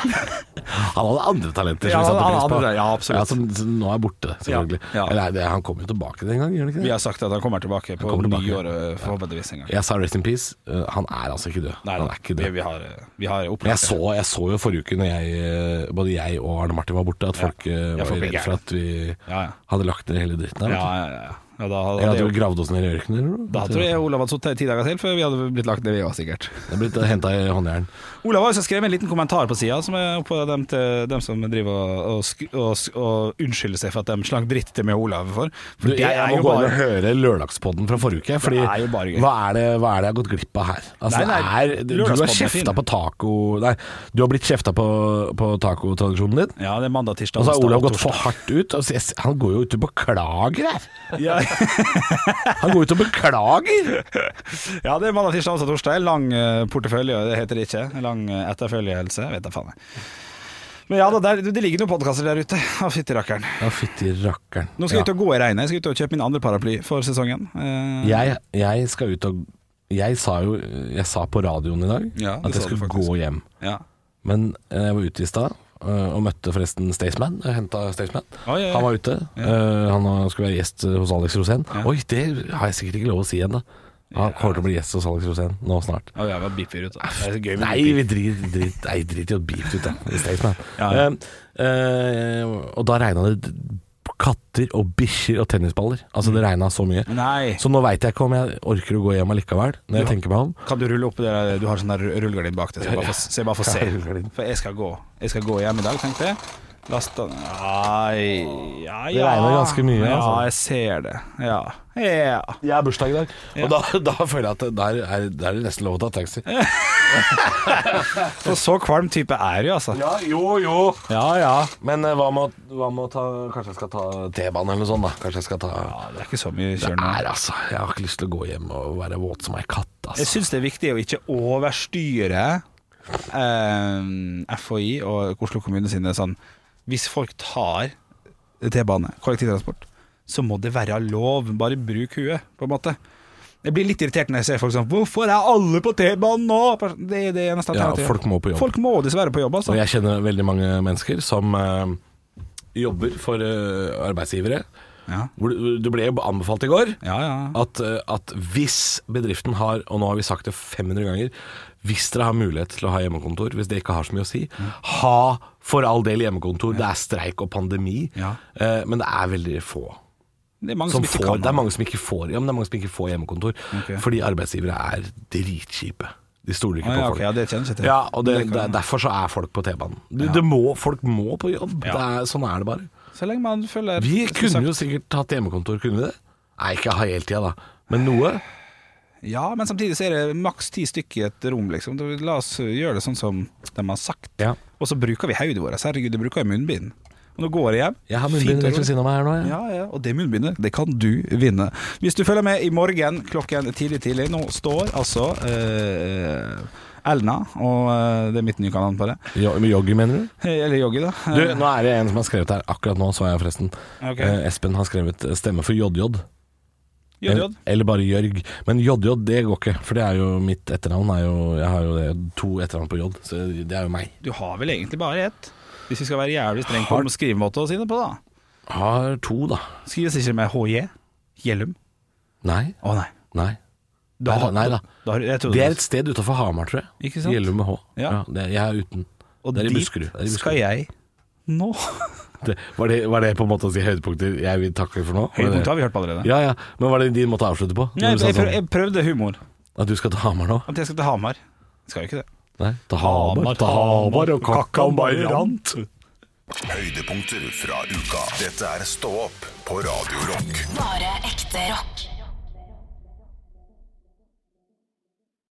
Speaker 4: Han hadde andre talenter
Speaker 3: Ja,
Speaker 4: som vi satte
Speaker 3: han hadde
Speaker 4: pris på.
Speaker 3: andre, ja, absolutt.
Speaker 4: som, som nå er borte, selvfølgelig.
Speaker 3: Ja, ja.
Speaker 4: Eller, det, han kommer jo tilbake den gangen, gjør han ikke
Speaker 3: Vi
Speaker 4: det?
Speaker 3: har sagt at han kommer tilbake på
Speaker 4: kommer tilbake.
Speaker 3: nyåret, forhåpentligvis en gang.
Speaker 4: Jeg sa rest in peace. Uh, Han er altså ikke død.
Speaker 3: Nei,
Speaker 4: han er ikke
Speaker 3: vi,
Speaker 4: død.
Speaker 3: vi har, vi har
Speaker 4: Men jeg
Speaker 3: opplevd
Speaker 4: så, jeg så jo forrige uke, når jeg, eh, både jeg og Arne Martin var borte, at folk eh,
Speaker 3: Ja,
Speaker 4: var
Speaker 3: folk ble
Speaker 4: redd for
Speaker 3: gærne.
Speaker 4: at vi
Speaker 3: Ja, ja.
Speaker 4: hadde lagt ned hele dritten
Speaker 3: Ja,
Speaker 4: her. vet du.
Speaker 3: ja, ja, ja. ja da,
Speaker 4: Jeg
Speaker 3: hadde
Speaker 4: hadde jo
Speaker 3: jeg-
Speaker 4: gravd oss ned i ørkenen eller noe.
Speaker 3: da tror jeg Olav hadde sittet ti dager til før vi hadde blitt lagt ned, vi òg, sikkert.
Speaker 4: Det er blitt henta i håndjern.
Speaker 3: Olav har også skrevet en liten kommentar på sida, som er på dem, til, dem som driver og, og, sk- og, sk- og unnskylder seg for at de slang dritt til meg og Olav for.
Speaker 4: Du,
Speaker 3: for
Speaker 4: jeg, jeg må gå inn og høre lørdagspodden fra forrige uke. Fordi,
Speaker 3: er jo bare gøy.
Speaker 4: hva, er det, hva er det jeg har gått glipp av her? Altså,
Speaker 3: Nei, nei,
Speaker 4: det er, du
Speaker 3: lørdagspodden
Speaker 4: har
Speaker 3: er fin.
Speaker 4: kjefta på taco Nei, du har blitt kjefta på, på tacotradisjonen din.
Speaker 3: Ja, det er mandag, tirsdag,
Speaker 4: Og så har
Speaker 3: onsdag,
Speaker 4: Olav gått
Speaker 3: torsdag.
Speaker 4: for hardt ut. Og så jeg, han går jo ut og beklager her!
Speaker 3: Ja,
Speaker 4: Han går ut og beklager!
Speaker 3: ja, det er mandag, tirsdag, onsdag, torsdag. Lang eh, portefølje, det heter det ikke. Lang eh, etterfølgelse, vet jeg faen. jeg. Men ja da, der, det ligger noen podkaster der ute. Å, fytti rakkeren.
Speaker 4: Ja, fytti rakkeren.
Speaker 3: Nå skal jeg
Speaker 4: Ja.
Speaker 3: ut og gå i regnet. Jeg skal ut og kjøpe min andre paraply for sesongen. Eh,
Speaker 4: jeg, jeg skal ut og Jeg sa jo Jeg sa på radioen i dag
Speaker 3: Ja, det
Speaker 4: at jeg
Speaker 3: sa du
Speaker 4: skulle
Speaker 3: faktisk.
Speaker 4: gå hjem.
Speaker 3: ja.
Speaker 4: Men eh, jeg var ute i stad eh, og møtte forresten Staysman. Jeg henta Staysman.
Speaker 3: Oi, oi, oi.
Speaker 4: Han var ute. eh, Han har- skulle være gjest eh, hos Alex Rosén.
Speaker 3: Ja.
Speaker 4: Oi, det har jeg sikkert ikke lov å si ennå. Han kommer til å bli gjest hos Alex Rosén nå snart.
Speaker 3: Å, jævla beeper ut. da. Det er så gøy med
Speaker 4: Nei,
Speaker 3: beeper.
Speaker 4: vi drit, drit, nei, drit i å beefe ut, da. Staysman.
Speaker 3: Ja, ja.
Speaker 4: Eh, eh, og da regna det d- katter og bikkjer og tennisballer. Altså,
Speaker 3: Mm.
Speaker 4: det regna så mye.
Speaker 3: Nei.
Speaker 4: Så nå veit jeg ikke om jeg orker å gå hjem allikevel, når jeg tenker meg om.
Speaker 3: Kan du rulle opp det der, du har sånn der rullegardin bak deg, så jeg bare får, så jeg bare får se. For jeg skal gå. Jeg skal gå hjem i dag, tenkte jeg. Lasta Nei ja, ja.
Speaker 4: Det regner ganske mye,
Speaker 3: Ja,
Speaker 4: altså.
Speaker 3: jeg ser det. Ja. ja.
Speaker 4: Jeg har bursdag i dag, og da, da føler jeg at det- der er, der er det nesten lov å ta taxi.
Speaker 3: For så kvalm type er du, altså.
Speaker 4: Ja, jo, jo.
Speaker 3: Ja, ja.
Speaker 4: Men eh, hva med, å- hva med å ta Kanskje jeg skal ta T-banen eller noe sånt, da. Kanskje jeg skal ta
Speaker 3: ja det er ikke så mye
Speaker 4: Det
Speaker 3: kjør nå.
Speaker 4: er altså Jeg har ikke lyst til å gå hjem og være våt som ei katt,
Speaker 3: Jeg
Speaker 4: altså.
Speaker 3: syns det er viktig å ikke overstyre eh, FHI og Oslo kommune sine sånn Hvis folk tar T-bane, kollektivtransport, så må det være lov. Bare bruk huet, på en måte. Jeg blir litt irritert når jeg ser folk sånn Hvorfor er alle på T-banen nå?! Det er det eneste
Speaker 4: Ja,
Speaker 3: alternativet.
Speaker 4: folk må på jobb.
Speaker 3: Folk må dessverre på jobb, altså.
Speaker 4: Og jeg kjenner veldig mange mennesker som eh, jobber for eh, arbeidsgivere.
Speaker 3: Ja.
Speaker 4: Hvor du, du ble jo anbefalt i går.
Speaker 3: Ja, ja.
Speaker 4: at, eh, at hvis bedriften har, og nå har vi sagt det 500 ganger, Hvis dere har mulighet til å ha hjemmekontor, hvis det ikke har så mye å si, ha for all del hjemmekontor. Det er streik og pandemi,
Speaker 3: Ja.
Speaker 4: eh, men det er veldig få.
Speaker 3: Det er mange
Speaker 4: Som
Speaker 3: som, ikke
Speaker 4: får,
Speaker 3: kan
Speaker 4: det er mange som ikke får Ja, men det er mange som ikke får hjemmekontor
Speaker 3: Ok.
Speaker 4: fordi arbeidsgivere er dritkjipe. De stoler ikke
Speaker 3: Ah,
Speaker 4: på
Speaker 3: ja,
Speaker 4: folk.
Speaker 3: ok, ja, det kjennes jeg til.
Speaker 4: Ja, og det,
Speaker 3: Det kan-
Speaker 4: det, derfor så er folk på T-banen. Du- det må- Folk må på jobb. Det er, sånn er det bare.
Speaker 3: Så lenge man følger
Speaker 4: Vi
Speaker 3: som
Speaker 4: kunne
Speaker 3: sagt-
Speaker 4: jo sikkert hatt hjemmekontor, kunne vi det? Nei, ikke hele tida, da. Men noe.
Speaker 3: Ja, men samtidig så er det maks ti stykker i et rom, liksom. Da- La oss gjøre det sånn som de har sagt.
Speaker 4: Ja.
Speaker 3: Og så bruker vi hodet vårt. Herregud, det bruker jeg munnbind. Og nå går jeg hjem.
Speaker 4: Jeg har munnbind
Speaker 3: Fint,
Speaker 4: rett ved siden av meg her nå. Ja.
Speaker 3: Ja, ja, og det munnbindet, det kan du vinne. Hvis du følger med i morgen klokken tidlig tidlig, nå står altså eh, Elna, og eh, det er mitt nye kanal på det,
Speaker 4: Jo- med Joggy, mener du?
Speaker 3: eller Joggi, da.
Speaker 4: Du, nå er det en som har skrevet her akkurat nå, så jeg forresten.
Speaker 3: Ok.
Speaker 4: Eh, Espen har skrevet eh, 'stemme for JJ'.
Speaker 3: JJ.
Speaker 4: Eller- Eller bare Jørg. Men JJ, det går ikke. For det er jo mitt etternavn. Er jo, jeg har jo det, to etternavn på J, så det er jo meg.
Speaker 3: Du har vel egentlig bare ett? Hvis vi skal være jævlig streng på skrivemåte å si det på, da.
Speaker 4: Har to, da.
Speaker 3: Skrives ikke med HJ? Gjellum?
Speaker 4: Nei.
Speaker 3: Å nei.
Speaker 4: Nei.
Speaker 3: Da-
Speaker 4: Ah, nei da.
Speaker 3: da har du- jeg trodde
Speaker 4: Det er et sted utafor Hamar, tror jeg.
Speaker 3: Ikke sant?
Speaker 4: Gjellum med H.
Speaker 3: Ja.
Speaker 4: det, jeg er uten.
Speaker 3: Og
Speaker 4: det er i
Speaker 3: dit
Speaker 4: Buskerud. Det er i Buskerud.
Speaker 3: skal jeg nå.
Speaker 4: Det, var, det, var det på en måte å si høydepunkter jeg vil takke for nå? Var det-
Speaker 3: Høydepunktet har vi hørt på allerede.
Speaker 4: Ja, ja. Men var det din måte å avslutte på? Når
Speaker 3: Nei,
Speaker 4: du sa
Speaker 3: jeg, prøv,
Speaker 4: sånn,
Speaker 3: jeg prøvde humor.
Speaker 4: at du skal til Hamar nå?
Speaker 3: At jeg skal til Hamar. Skal jo ikke det.
Speaker 4: Nei. Til Hamar, til Hamar og kakkaen bare rant.
Speaker 1: Høydepunkter fra uka. Dette er Stå opp på Radio Rock.
Speaker 2: Bare ekte rock.